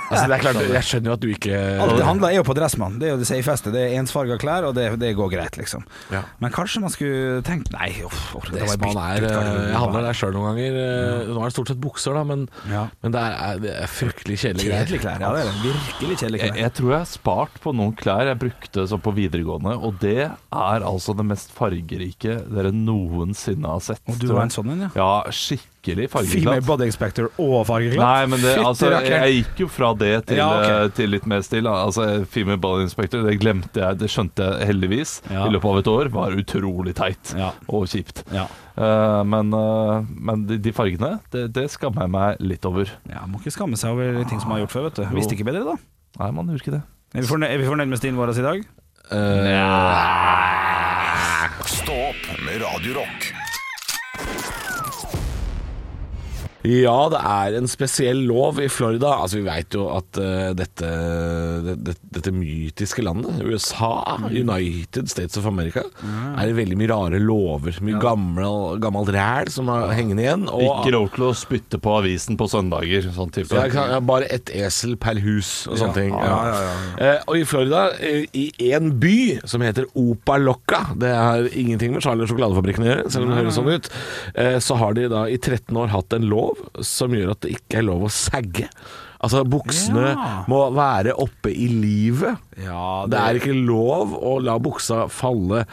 S2: Altså, det er klart, jeg skjønner jo at du ikke
S3: Alt det handler er jo på dressmann. Det er jo det safeste. Det er ensfarga klær, og det, det går greit, liksom.
S2: Ja.
S3: Men kanskje man skulle tenkt Nei, uff. orker ikke, da må jeg
S2: Dressmann er
S3: bytte ut
S2: eh,
S3: garderoben.
S2: Jeg handler der sjøl noen ganger. eh, Nå er det stort sett bukser, da, men,
S3: Ja.
S2: men det, er, eh, det er fryktelig kjedelige
S3: Kjedelige
S2: greier.
S3: klær. Ja, det er det. virkelig kjedelige
S1: Jeg,
S3: klær.
S1: jeg tror jeg har spart på noen klær jeg brukte sånn på videregående, og det er altså det mest fargerike dere noensinne har sett.
S3: Og du
S1: tror
S3: var
S1: jeg.
S3: en sånn en, ja?
S1: Ja, skikkelig
S3: Female
S1: fargeklatt.
S3: body inspector og fargeklatt?
S1: Nei, men det, altså,
S3: rakkeren.
S1: jeg gikk jo fra det til,
S3: Ja, ok.
S1: eh, til litt mer stille. Altså, Female Ball Inspector, det glemte jeg. Det skjønte jeg heldigvis
S3: Ja.
S1: i løpet av et år. Var utrolig teit
S3: Ja.
S1: og kjipt.
S3: Ja.
S1: Eh, men eh, men de, de fargene, det, det skammer jeg meg litt over.
S3: ja, Må ikke skamme seg over ting som man har gjort før, vet du. Visste ikke bedre, da.
S1: Nei, man gjør ikke det.
S3: Er vi fornøyd, er vi fornøyd med stilen vår i dag?
S4: Stå opp med Radio Rock.
S2: Ja, det er en spesiell lov i Florida. Altså, Vi veit jo at eh, dette, det, det, dette mytiske landet, USA,
S3: Mm.
S2: United States of America, er veldig mye rare lover. Mye gammel, gammelt ræl som er hengende igjen. Og,
S1: Ikke lov til å spytte på avisen på søndager. Sånn type.
S2: Ja, ikke sant? Ja, bare ett esel per hus og sånne ting. Ja.
S3: ja,
S2: Eh, og i Florida, eh, i en by som heter Opalocca Det har ingenting med Charlie og sjokoladefabrikken å gjøre, selv om det høres sånn ut. Eh, så har de da i 13 år hatt en lov som gjør at det ikke er lov å sagge. Altså, buksene
S3: Ja.
S2: må være oppe i livet.
S3: Ja,
S2: Det er ikke lov å la buksa falle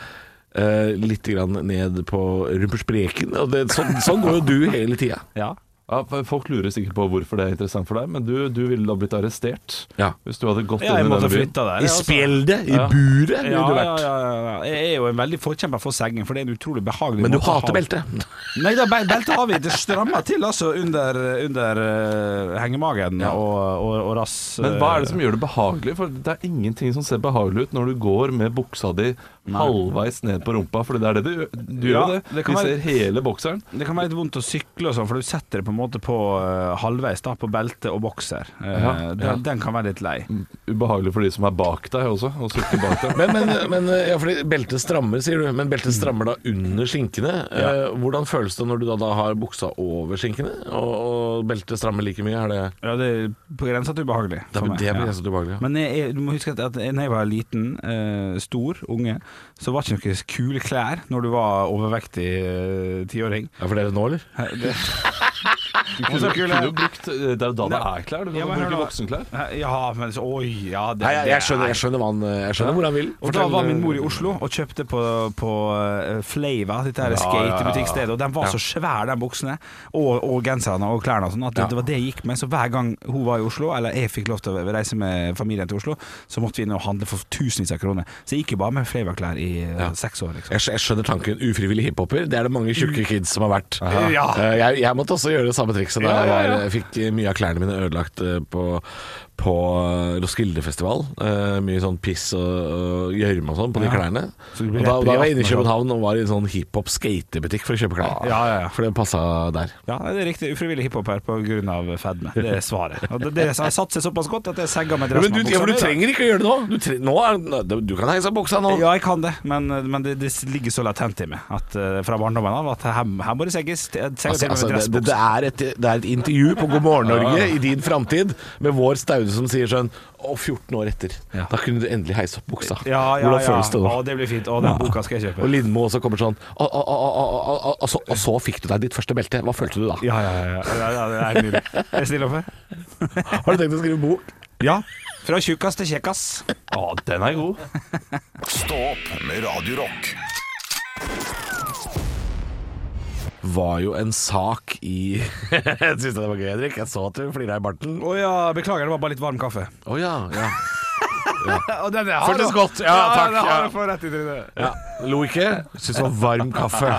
S2: eh, litt grann ned på rumperspreken. Og det, sånn, sånn går jo du hele tida.
S3: ja.
S1: Ja, for folk lurer sikkert på hvorfor det er interessant for deg, men du, du ville da blitt arrestert
S2: Ja.
S1: hvis du hadde gått
S3: ja, jeg
S1: inn i
S3: måtte
S1: denne byen.
S3: flytte der.
S2: I
S3: jeg, altså.
S2: spjeldet, i buret, ville
S3: Ja,
S2: du
S3: ja,
S2: vært.
S3: ja, ja. Jeg er jo en veldig forkjemper for sengen, for det er en utrolig behagelig
S2: Men du
S3: måte å
S2: hater
S3: ha-
S2: beltet.
S3: Nei, da, bel- beltet har vi. Det strammer til altså under, under eh, hengemagen og, og, og rass...
S1: Men hva er det som gjør det behagelig? For det er ingenting som ser behagelig ut når du går med buksa di halvveis ned på rumpa, for det er det du gjør. Du
S3: Ja,
S1: gjør jo det.
S3: det kan
S1: Vi
S3: være-
S1: ser hele bokseren.
S3: eh, Det kan være litt vondt å sykle og sånn, for du setter det på en måte på eh, halvveis, da, på belte og bokser. Eh,
S1: Ja,
S3: den,
S1: ja.
S3: den kan være litt lei.
S1: Ubehagelig for de som er bak deg også, å sitte bak deg.
S2: Men, men, men ja, fordi beltet strammer, sier du. Men beltet strammer da under skinkene. Eh, hvordan føles det når du da, da har buksa over skinkene, og, og beltet strammer like mye? Er det,
S3: Ja, det er på grensa til ubehagelig
S2: det,
S3: for meg.
S2: det
S3: ja.
S2: blir så ubehagelig. ja.
S3: Men jeg, jeg, du må huske at- at da jeg var liten, eh, stor, unge, så var det ikke noen kule klær når du var overvektig eh, tiåring.
S2: Ja, for dere nå, eller?
S1: Du kunne,
S3: så kul, ja.
S1: kunne jo brukt eh, Det er jo da det
S3: Nei.
S1: er klær. Du
S3: Ja,
S1: kan
S3: men hør
S1: bruke
S3: nå.
S1: voksenklær.
S3: Ja, men så, oi, ja det,
S2: Nei, jeg, jeg,
S3: det
S2: skjønner,
S3: er-
S2: jeg skjønner, hva han, jeg skjønner hvor han vil.
S3: Og da
S2: Fortell,
S3: var min
S2: eh,
S3: mor i Oslo og kjøpte på, på eh, Flava, dette her skatebutikkstedet, og den var så svær, den buksene, og, og genserne og klærne og sånn, at det, det var det jeg gikk med. Så hver gang hun var i Oslo, eller jeg fikk lov til å reise med familien til Oslo, så måtte vi inn og handle for tusenvis av kroner. Så jeg gikk jo bare med Flava-klær i eh, seks år, liksom.
S2: Jeg, skj- jeg skjønner tanken. Ufrivillig hiphoper, det er det mange tjukke kids som har vært.
S3: Ja.
S2: Eh, Jeg, jeg måtte også gjøre det samme trikset da jeg, var, jeg fikk eh, mye av klærne mine ødelagt eh, på, på eh, Roskilde-festival. Eh, Mye sånn piss og- og gjørme og sånn på de klærne.
S3: Så du
S2: Og
S3: ble
S2: da,
S3: rapper i
S2: da var jeg inne i
S3: 18 og sånn.
S2: København og var i en sånn hiphop-skatebutikk for å kjøpe klær.
S3: Ja, ja, ja.
S2: For det passa der.
S3: Ja, det er riktig. Ufrivillig hiphop her på grunn av fedme. Det er svaret. Og det, det har satt seg såpass godt at jeg segga med
S2: Men du,
S3: dressmann.
S2: ja, men du trenger ikke å gjøre det nå. Du, tre nå er, du kan heise opp buksa nå.
S3: Ja, jeg kan det, men, men det, det ligger så latent i meg at, eh, fra barndommen av at her, her må det segges. Jeg segger
S2: Altså,
S3: til og
S2: altså,
S3: med med
S2: det, det,
S3: dressbukse.
S2: det, er et, det er et intervju på God morgen Norge i din framtid med vår Staude som sier sånn Og 14 år etter,
S3: Ja.
S2: da kunne du endelig heise opp buksa.
S3: Ja, ja,
S2: Hvordan
S3: ja.
S2: føles det da?
S3: Å, det blir fint. Å, den boka skal jeg kjøpe.
S2: Og Lindmo også kommer sånn «Å, å, å, å, å, å, å», og så, og så fikk du deg ditt første belte. Hva følte du da?
S3: Ja, ja, ja. ja, ja det er nydelig. Er jeg stille opp her?
S2: Har du tenkt å skrive bok?
S3: Ja. Fra tjukkas til kjekkas.
S1: Ja, den er god.
S4: Stå opp med Radio Rock.
S2: var jo en sak i Jeg syns det var gøy, Henrik. Jeg så at du flira i barten. Å
S3: Å ja, beklager, det var bare litt varm kaffe.
S2: ja, ja.
S3: Og den er
S2: Føltes godt. Ja, takk,
S3: den har
S2: ja.
S3: du fått rett i trynet.
S2: ja. Lo ikke. Syns det var varm kaffe.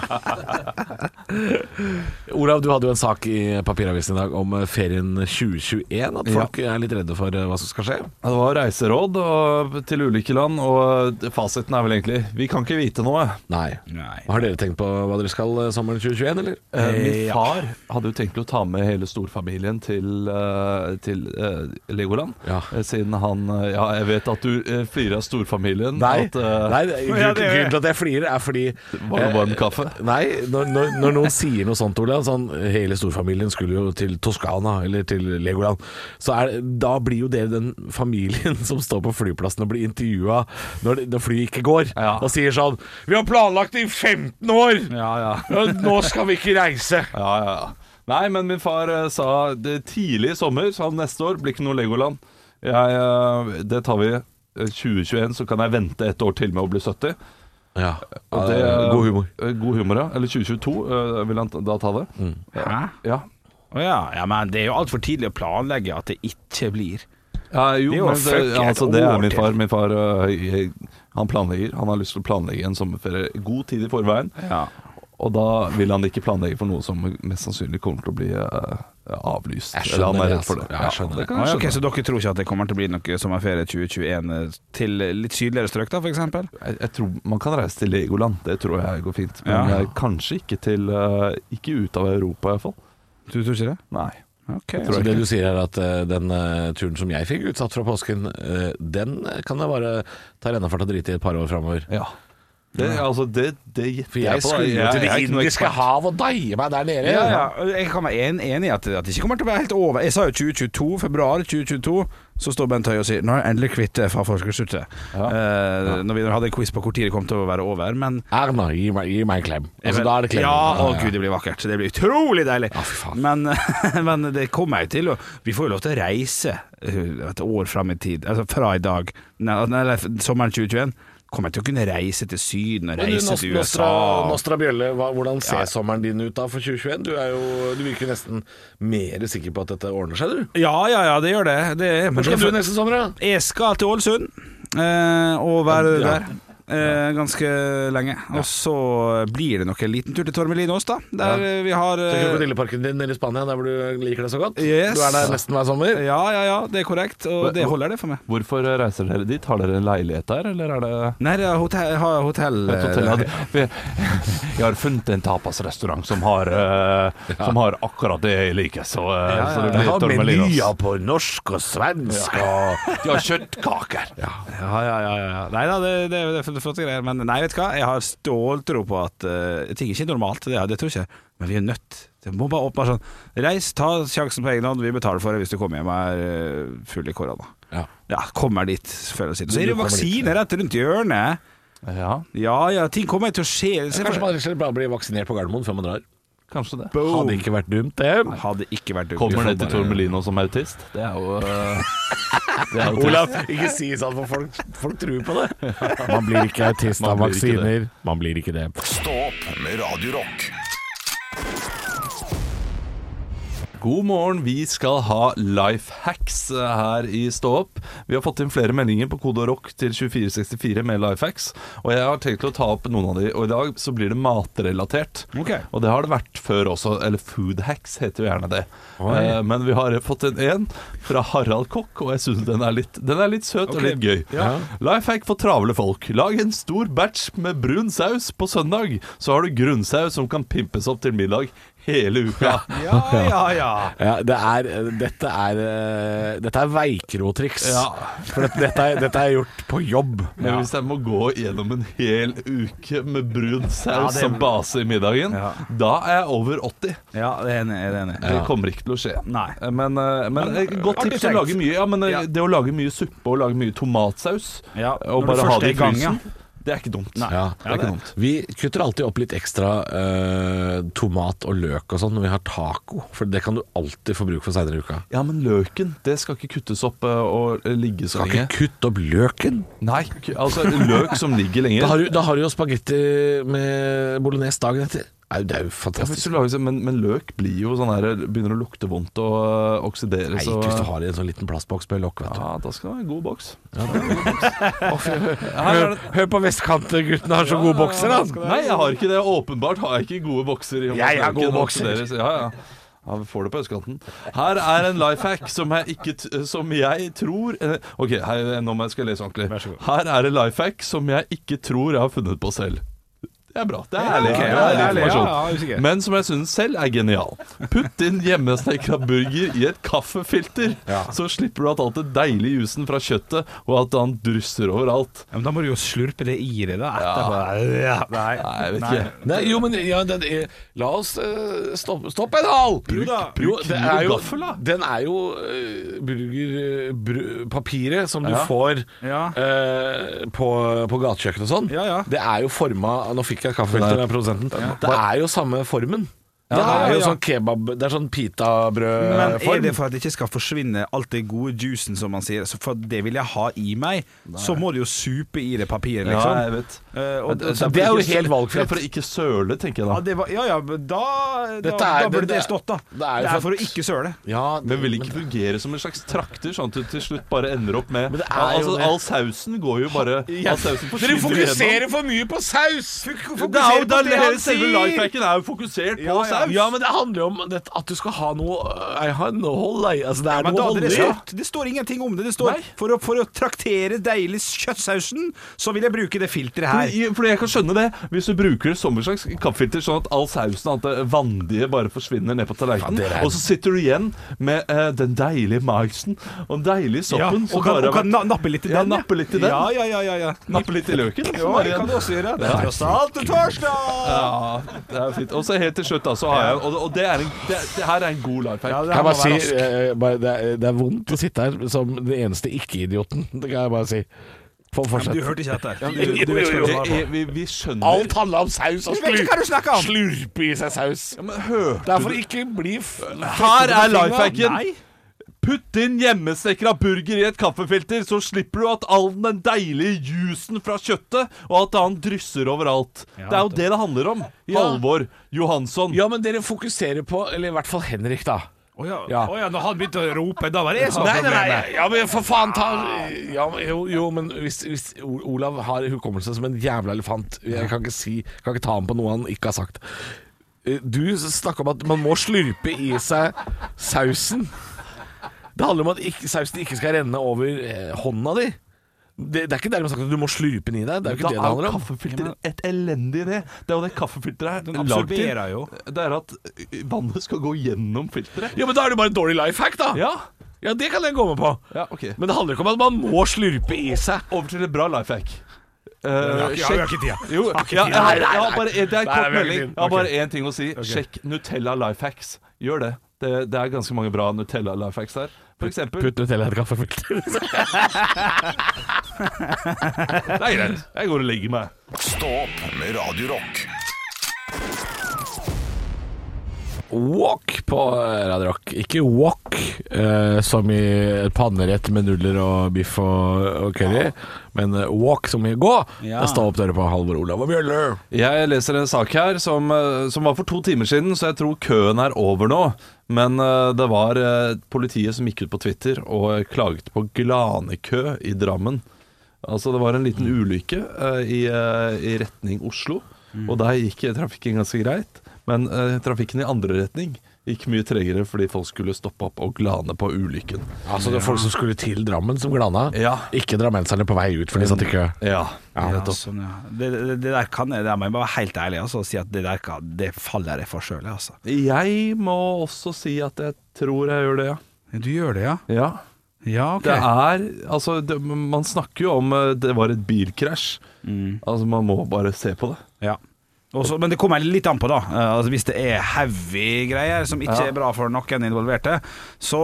S2: Olav, du hadde jo en sak i papiravisen i dag om eh, ferien 2021. At folk er litt redde for eh, hva som skal skje.
S1: Ja, Det var reiseråd og, til ulike land, og fasiten er vel egentlig Vi kan ikke vite noe.
S2: Nei.
S3: Nei.
S2: Har dere tenkt på hva dere skal eh, sommeren 2021, eller?
S1: Eh, min far hadde jo tenkt å ta med hele storfamilien til, eh, til eh, Legoland.
S2: Ja.
S1: Eh, Siden han eh, Ja, jeg vet at du eh, flirer av storfamilien.
S2: Nei,
S1: At, eh,
S2: nei det-
S3: Ja,
S2: grunnen,
S3: det gjør jeg.
S2: grunnen til at jeg flirer er fordi
S1: Var det varm
S2: eh,
S1: kaffe?
S2: Nei, når, når, når noen sier noe sånt, Olav sånn, Hele storfamilien skulle jo til Toskana eller til Legoland. Så er, det- da blir jo dere den familien som står på flyplassen og blir intervjua når, det- når flyet ikke går,
S1: Ja.
S2: og sier sånn 'Vi har planlagt i 15 år!
S1: Ja, ja.
S2: Nå skal vi ikke reise!'
S1: ja, ja, ja. Nei, men min far eh, sa det tidlig i sommer, sa han neste år blir ikke noe Legoland. Jeg, eh, det tar vi eh, 2021, så kan jeg vente et år til med å bli 70.
S2: Ja,
S1: Og det,
S2: eh, God humor.
S1: eh, God humor, ja. Eller 2022 eh, vil han da ta det.
S2: Mm.
S3: Hæ?
S1: Ja.
S3: Å ja. ja, men det er jo altfor tidlig å planlegge at det ikke blir.
S1: Ja, jo,
S3: Det er jo
S1: men
S3: fuck
S1: det,
S3: et
S1: altså, det er
S3: år
S1: min
S3: til.
S1: far. Min far øh, jeg- han planlegger. Han har lyst til å planlegge en sommerferie god tid i forveien.
S3: Ja.
S1: Og da vil han ikke planlegge for noe som mest sannsynlig kommer til å bli øh, avlyst.
S2: Jeg
S1: Eller
S2: skjønner
S1: han er
S2: det,
S1: redd for
S2: altså.
S1: det.
S2: Ja, jeg skjønner det.
S1: kan
S3: Ah, ja,
S1: jeg
S3: ok,
S1: skjønne.
S3: så dere tror ikke at det kommer til å bli noe sommerferie 2021 til litt sydligere strøk, da, f.eks.?
S1: jeg, jeg tror Man kan reise til Legoland, det tror jeg går fint. Men
S3: Ja.
S1: øh, kanskje ikke til øh, Ikke ut av Europa, iallfall.
S3: Du tror ikke det?
S1: Nei.
S3: Ok.
S2: Så det du sier er at eh, den eh, turen som jeg fikk utsatt fra påsken, eh, den kan jeg bare ta rennafart og drite i et par år framover.
S1: Ja. Det, altså, det, det
S2: For
S1: gjetter
S2: jeg
S1: jeg på. da.
S2: skulle jo til
S1: jeg
S2: Det
S1: er ikke noe
S2: indiske
S1: ekspert.
S2: hav og deie meg der nede.
S3: Ja, ja. Jeg kan være en, enig i at, at det ikke kommer til å være helt over. Jeg sa jo 2022, februar 2022. Så står Bent Høie og sier 'Nå er jeg endelig kvitt det fra forskerstudset'.
S1: Ja.
S3: Eh, Når vi hadde en quiz på hvor tid det kom til å være over, men
S2: Erna, gi meg, gi meg en klem. Altså,
S3: Vel,
S2: da er det klem.
S3: Ja, å gud, det blir vakkert. Det blir utrolig deilig.
S2: Ja, fy faen.
S3: men, men det kommer jeg jo til. Og vi får jo lov til å reise eh, et år fram i tid. Altså fra i dag, nei, nei, eller sommeren 2021, kommer jeg til å kunne reise til Syden og
S2: Men du,
S3: reise
S2: Nos-
S3: til
S2: Nostra,
S3: USA.
S2: Nostra Bjølle, hva, hvordan ser sommeren din ut da for 2021? Du, er jo, du virker nesten mer sikker på at dette ordner seg, du.
S3: Ja, ja, ja, det gjør det. det er- men
S2: Hvor skal
S3: det er-
S2: du neste sommer, da?
S3: Jeg skal til Ålesund eh, og være
S2: Ja.
S3: der eh, ganske lenge. Og så blir det nok en liten tur til Tormelinos, da. Der eh, vi har eh,
S2: Til krokodilleparken din nede i Spania, der hvor du liker deg så godt?
S3: Yes.
S2: Du er der nesten hver sommer?
S3: Ja, ja, ja, det er korrekt.
S1: Hva-
S3: Og det holder det for meg.
S1: Hvorfor øh, reiser dere dit? Har dere en leilighet der, eller er det
S3: Nei, det er hotell, jeg har hotell,
S1: Et hotell hadde, for jeg, jeg har funnet en tapasrestaurant som har, eh, som har akkurat det jeg liker. Så, eh, så det blir Tormelinos.
S2: på norsk og svensk og
S1: De har kjøttkaker.
S3: eh, Ja, ja, ja, ja. Nei da, det, det, det er flotte greier. Men nei, vet du hva, jeg har ståltro på at eh, ting er ikke normalt. Det, det tror jeg ikke. Men vi er nødt. Det må bare opp bare sånn. Reis, ta sjansen på egen hånd. Vi betaler for det hvis du kommer hjem og er eh, full i korona.
S2: Ja.
S3: Ja, kommer dit, føler jeg å si. Så
S2: Du
S3: er det
S2: kommer dit, ja.
S3: vaksine rett rundt hjørnet.
S1: Ja,
S3: Ja ja, ting kommer til å skje. Se
S2: Kanskje
S3: for-
S2: man rett og slett bare blir vaksinert på Gardermoen før man drar.
S1: kanskje det.
S3: Boom.
S2: Hadde ikke vært dumt, det.
S3: Hadde ikke vært dumt.
S1: Kommer det
S3: Vi får
S1: til
S3: bare-
S1: Tormelino som autist? Det er jo eh, det er jo trist.
S2: Olav, ikke si sånn, for folk, folk tror på det. Man blir ikke autist
S1: av vaksiner.
S2: Man blir ikke det.
S4: Stå opp med Radio Rock.
S1: God morgen, vi skal ha life hacks eh, her i Stå opp. Vi har fått inn flere meldinger på kode rock til 2464 med life hacks. Og jeg har tenkt å ta opp noen av de, og i dag så blir det matrelatert.
S3: Ok.
S1: Og det har det vært før også, eller food hacks heter jo gjerne det. Eh, men vi har fått en en fra Harald Kokk, og jeg syns den, er litt- den er litt søt
S3: Ok.
S1: og litt gøy.
S3: Ja.
S1: Life hack for travle folk. Lag en stor batch med brun saus på søndag, så har du grunnsaus som kan pimpes opp til middag hele uka.
S3: Ja ja ja.
S2: Ja, det er, dette er eh, Dette er veikrotriks.
S1: Ja.
S2: For dette, dette, er, dette er gjort på jobb.
S1: Men hvis jeg må gå gjennom en hel uke med brun
S3: Ja,
S1: saus
S3: det-
S1: som base i middagen,
S3: Ja.
S1: da er jeg over 80.
S3: ja det er enig. Det er enig.
S1: Det kommer ikke til å skje.
S3: Nei.
S1: Men, eh, men eh, godt
S3: artig
S1: tips å
S3: tenkt.
S1: lage mye. Ja, men eh,
S3: Ja.
S1: det å lage mye suppe og lage mye tomatsaus
S3: Ja,
S1: og
S3: når du
S1: bare ha
S3: først
S1: det
S3: er
S1: i
S3: i gang,
S1: frysen, det er ikke dumt.
S2: Ja.
S1: Det er ikke dumt.
S2: Vi kutter alltid opp litt ekstra eh, tomat og løk og sånn når vi har taco, for det kan du alltid få bruk for seinere i uka.
S1: Ja, men løken, det skal ikke kuttes opp eh, og ligge så
S2: Kan ikke
S1: lenge.
S2: kutte opp løken.
S1: Nei, altså løk som ligger
S2: Da
S1: lenger.
S2: har du, da har du jo spagetti med bolognese dagen etter. er jo, det er jo
S1: Ja, hvis
S2: fantastisk.
S1: du lager, sånn- men, men løk blir jo sånn her Begynner å lukte vondt og øh, oksidere.
S2: Nei,
S1: så-
S2: ikke hvis du har det i en sånn liten plastboks med lokk, vet du.
S1: ja, da skal det være en god boks.
S2: Hør, hør på vestkantguttene har så gode bokser, da!
S1: Nei, jeg har ikke det. Åpenbart har jeg ikke gode bokser. i og med
S2: Jeg
S1: at
S2: har gode
S1: løken
S2: bokser.
S1: oksideres. Ja, ja. Ja, vi får det på østkanten. Her er en life hack som jeg, ikke t som jeg tror eh, Ok, her, nå må jeg skal lese ordentlig. Her er en life hack som jeg ikke tror jeg har funnet på selv. Det er bra. Det er ærlig.
S3: ok,
S1: det er
S3: ja,
S1: ærlig
S3: det er ærlig, ja,
S1: informasjon.
S3: ja, usikker.
S1: Men som jeg syns selv er genial. Putt inn hjemmesnekra burger i et kaffefilter, så slipper du at alt det deilige jusen fra kjøttet, og at han drysser overalt.
S3: Ja, men da må du jo slurpe det i deg da, etterpå. Ja. Nei.
S1: Nei, jeg vet
S3: Nei.
S1: ikke.
S2: Nei, jo, men ja, den, er- la oss eh, stoppe Stopp en hal!
S3: Jo da.
S2: Jo,
S1: Bruk
S2: det
S1: kniv og
S2: er jo,
S1: gaffel, da.
S2: den er jo eh, burger, eh, bru- papiret som du får
S3: Ja.
S2: eh, på, på gatekjøkken og sånn.
S3: Ja, ja.
S2: Det er jo forma Nå fikk jeg kaffefilter av produsenten. Det er jo samme formen. Det
S3: Ja, ja,
S2: er jo
S3: ja.
S2: sånn kebab Det er
S1: Eh,
S2: sånn
S3: Men er
S2: pitabrødform.
S3: det for at det ikke skal forsvinne alt det gode juicen, som man sier, så for det vil jeg ha i meg, så må du jo supe i det papiret, liksom.
S1: Ja, jeg vet.
S3: Eh, og-
S1: Men,
S2: så det er jo
S1: ikke-
S2: helt valgfritt.
S1: Ja, for å ikke søle, tenker jeg
S3: Ja,
S1: da.
S3: det var, ja, ja, men da, da,
S2: Dette er-
S3: da burde
S2: det-
S3: det stått, da. Det er,
S2: jo for
S3: for å
S2: at-
S3: ikke søle.
S2: Ja,
S1: Det vil ikke fungere som en slags trakter, sånn at du til slutt bare ender opp med
S2: Men det er
S1: Ja,
S2: jo
S1: altså,
S2: det.
S1: All sausen går jo bare All sausen
S2: Dere
S1: forsvinner
S2: fokuserer for mye på saus!
S1: igjennom. Det er jo da
S3: på det han
S1: hele selve lifehacken er jo fokusert på saus.
S2: Ja, men det handler jo om det, at du skal ha noe eh, Jeg har noe hold, jeg. Altså, det er
S3: Men da
S2: noe
S3: hadde det
S2: olje.
S3: stått. Det står ingenting om det. Det står
S1: Nei.
S3: for å, for å traktere deilig kjøttsausen, så vil jeg bruke det filteret her.
S1: fordi, fordi jeg kan skjønne det Hvis du bruker det som en slags kaffefilter, sånn at all sausen og alt det vandige bare forsvinner ned på tallerkenen,
S2: Ja, det er-
S1: og så sitter du igjen med eh, den deilige maisen og den deilige
S3: Ja,
S1: soppen som
S3: og kan,
S1: bare
S3: og
S1: har
S3: kan na-
S1: vært-
S3: nappe litt i
S1: Ja,
S3: den. ja.
S1: nappe litt i den.
S3: Ja, ja, ja, ja, ja.
S1: Nappe litt i løken.
S3: Ja, det kan du også gjøre. Det er tross alt en torsdag!
S1: Ja, det er fint. Og så helt til slutt, da, så har jeg Og, og det, er en, det, det her er en god life hack.
S2: Kan jeg bare si, eh, bare, det, er, det er vondt å sitte her som den eneste ikke-idioten. Det kan jeg bare si. For
S3: Du
S2: fortsett.
S3: hørte ikke etter.
S2: du- du vet hva du har
S1: vi, vi, vi skjønner
S2: Alt handla om saus og
S3: Jeg vet ikke hva du snakker om.
S2: slurpe i seg saus.
S1: Ja, men hørte
S2: Derfor
S1: du-
S2: ikke bli f...
S1: Her er life hacken!
S3: Nei.
S1: Putt inn hjemmesnekra burger i et kaffefilter, så slipper du at all den deilige jusen fra kjøttet og alt annet drysser overalt. det er jo det det handler om. Halvor Johansson.
S2: Ja, men dere fokuserer på Eller i hvert fall Henrik, da.
S3: Å ja.
S2: Ja.
S3: å ja, når han begynte å rope, da var det jeg som
S2: Nei, nei,
S3: var
S2: nei,
S3: problemet.
S2: ja, men for faen ta ja, men jo, jo, men hvis, hvis O- Olav har hukommelse som en jævla elefant Jeg kan ikke, si, kan ikke ta ham på noe han ikke har sagt Eh, Du snakker om at man må slurpe i seg sausen Det handler om at ikke, sausen ikke skal renne over eh, hånda di det, det er ikke dermed sagt at du må slurpe den i deg Det
S1: Da
S2: er jo ikke det det
S1: er
S2: handler
S1: jo
S2: om
S1: kaffefilter et elendig idé. Det er jo det kaffefilteret
S3: Den
S1: er lagd til.
S3: absorberer jo.
S1: Det er at ø, vannet skal gå gjennom filteret.
S2: Ja, men da er det bare en dårlig lifehack da
S1: Ja.
S2: Ja, det kan jeg gå med på
S1: ja, ok.
S2: Men det handler ikke om at man må slurpe i seg
S1: Over til et bra life hack. Eh,
S3: Ja,
S1: sjekk
S3: vi har ikke tida.
S1: Jo, ja, jeg,
S2: tid.
S1: har-
S2: Nei, nei,
S1: jeg har
S2: nei.
S1: bare, det er en
S2: Nei,
S1: kort
S2: vi har ikke
S1: melding.
S2: tid.
S1: Jeg har bare
S2: Ok.
S1: én ting å si. Sjekk Nutella Life Hacks. Gjør det. det. Det er ganske mange bra Nutella Life Hacks der. For eksempel.
S2: Putt Nutella i et kaffefilter
S1: Det er greit. Jeg går og legger meg.
S4: Stå opp med Radio Rock.
S2: Walk på eh, Radio Rock. Ikke walk eh, som i et pannerett med nudler og biff og, og curry, men eh, walk som i gå.
S3: Ja.
S2: Da står opp dere på Halvor Olav og Bjølle.
S1: Jeg leser en sak her som, eh, som var for to timer siden, så jeg tror køen er over nå. Men eh, det var eh, politiet som gikk ut på Twitter og eh, klaget på glanekø i Drammen. Altså Det var en liten ulykke eh, i, eh, i retning Oslo, og der gikk eh, trafikken ganske greit. Men eh, trafikken i andre retning gikk mye tregere fordi folk skulle stoppe opp og glane på ulykken.
S2: Altså det er folk som skulle til Drammen som glana.
S1: Ja.
S2: Ikke drammenserne på vei ut, for de satt i kø.
S1: Ja,
S3: Ja,
S1: nettopp.
S3: sånn, ja. Det, det, det der kan jeg, der må jeg bare være helt ærlig altså, og si at det der kan, det faller jeg for sjøl, altså.
S1: Jeg må også si at jeg tror jeg gjør det, ja.
S3: Du gjør det, ja?
S1: ja.
S3: Ja, ok.
S1: Det er Altså, det, man snakker jo om eh, det var et bilkrasj.
S2: Mm.
S1: Altså, man må bare se på det.
S3: Ja. Også, men det kommer litt an på, da. Eh, altså, hvis det er heavy greier som ikke
S1: Ja.
S3: er bra for noen involverte, så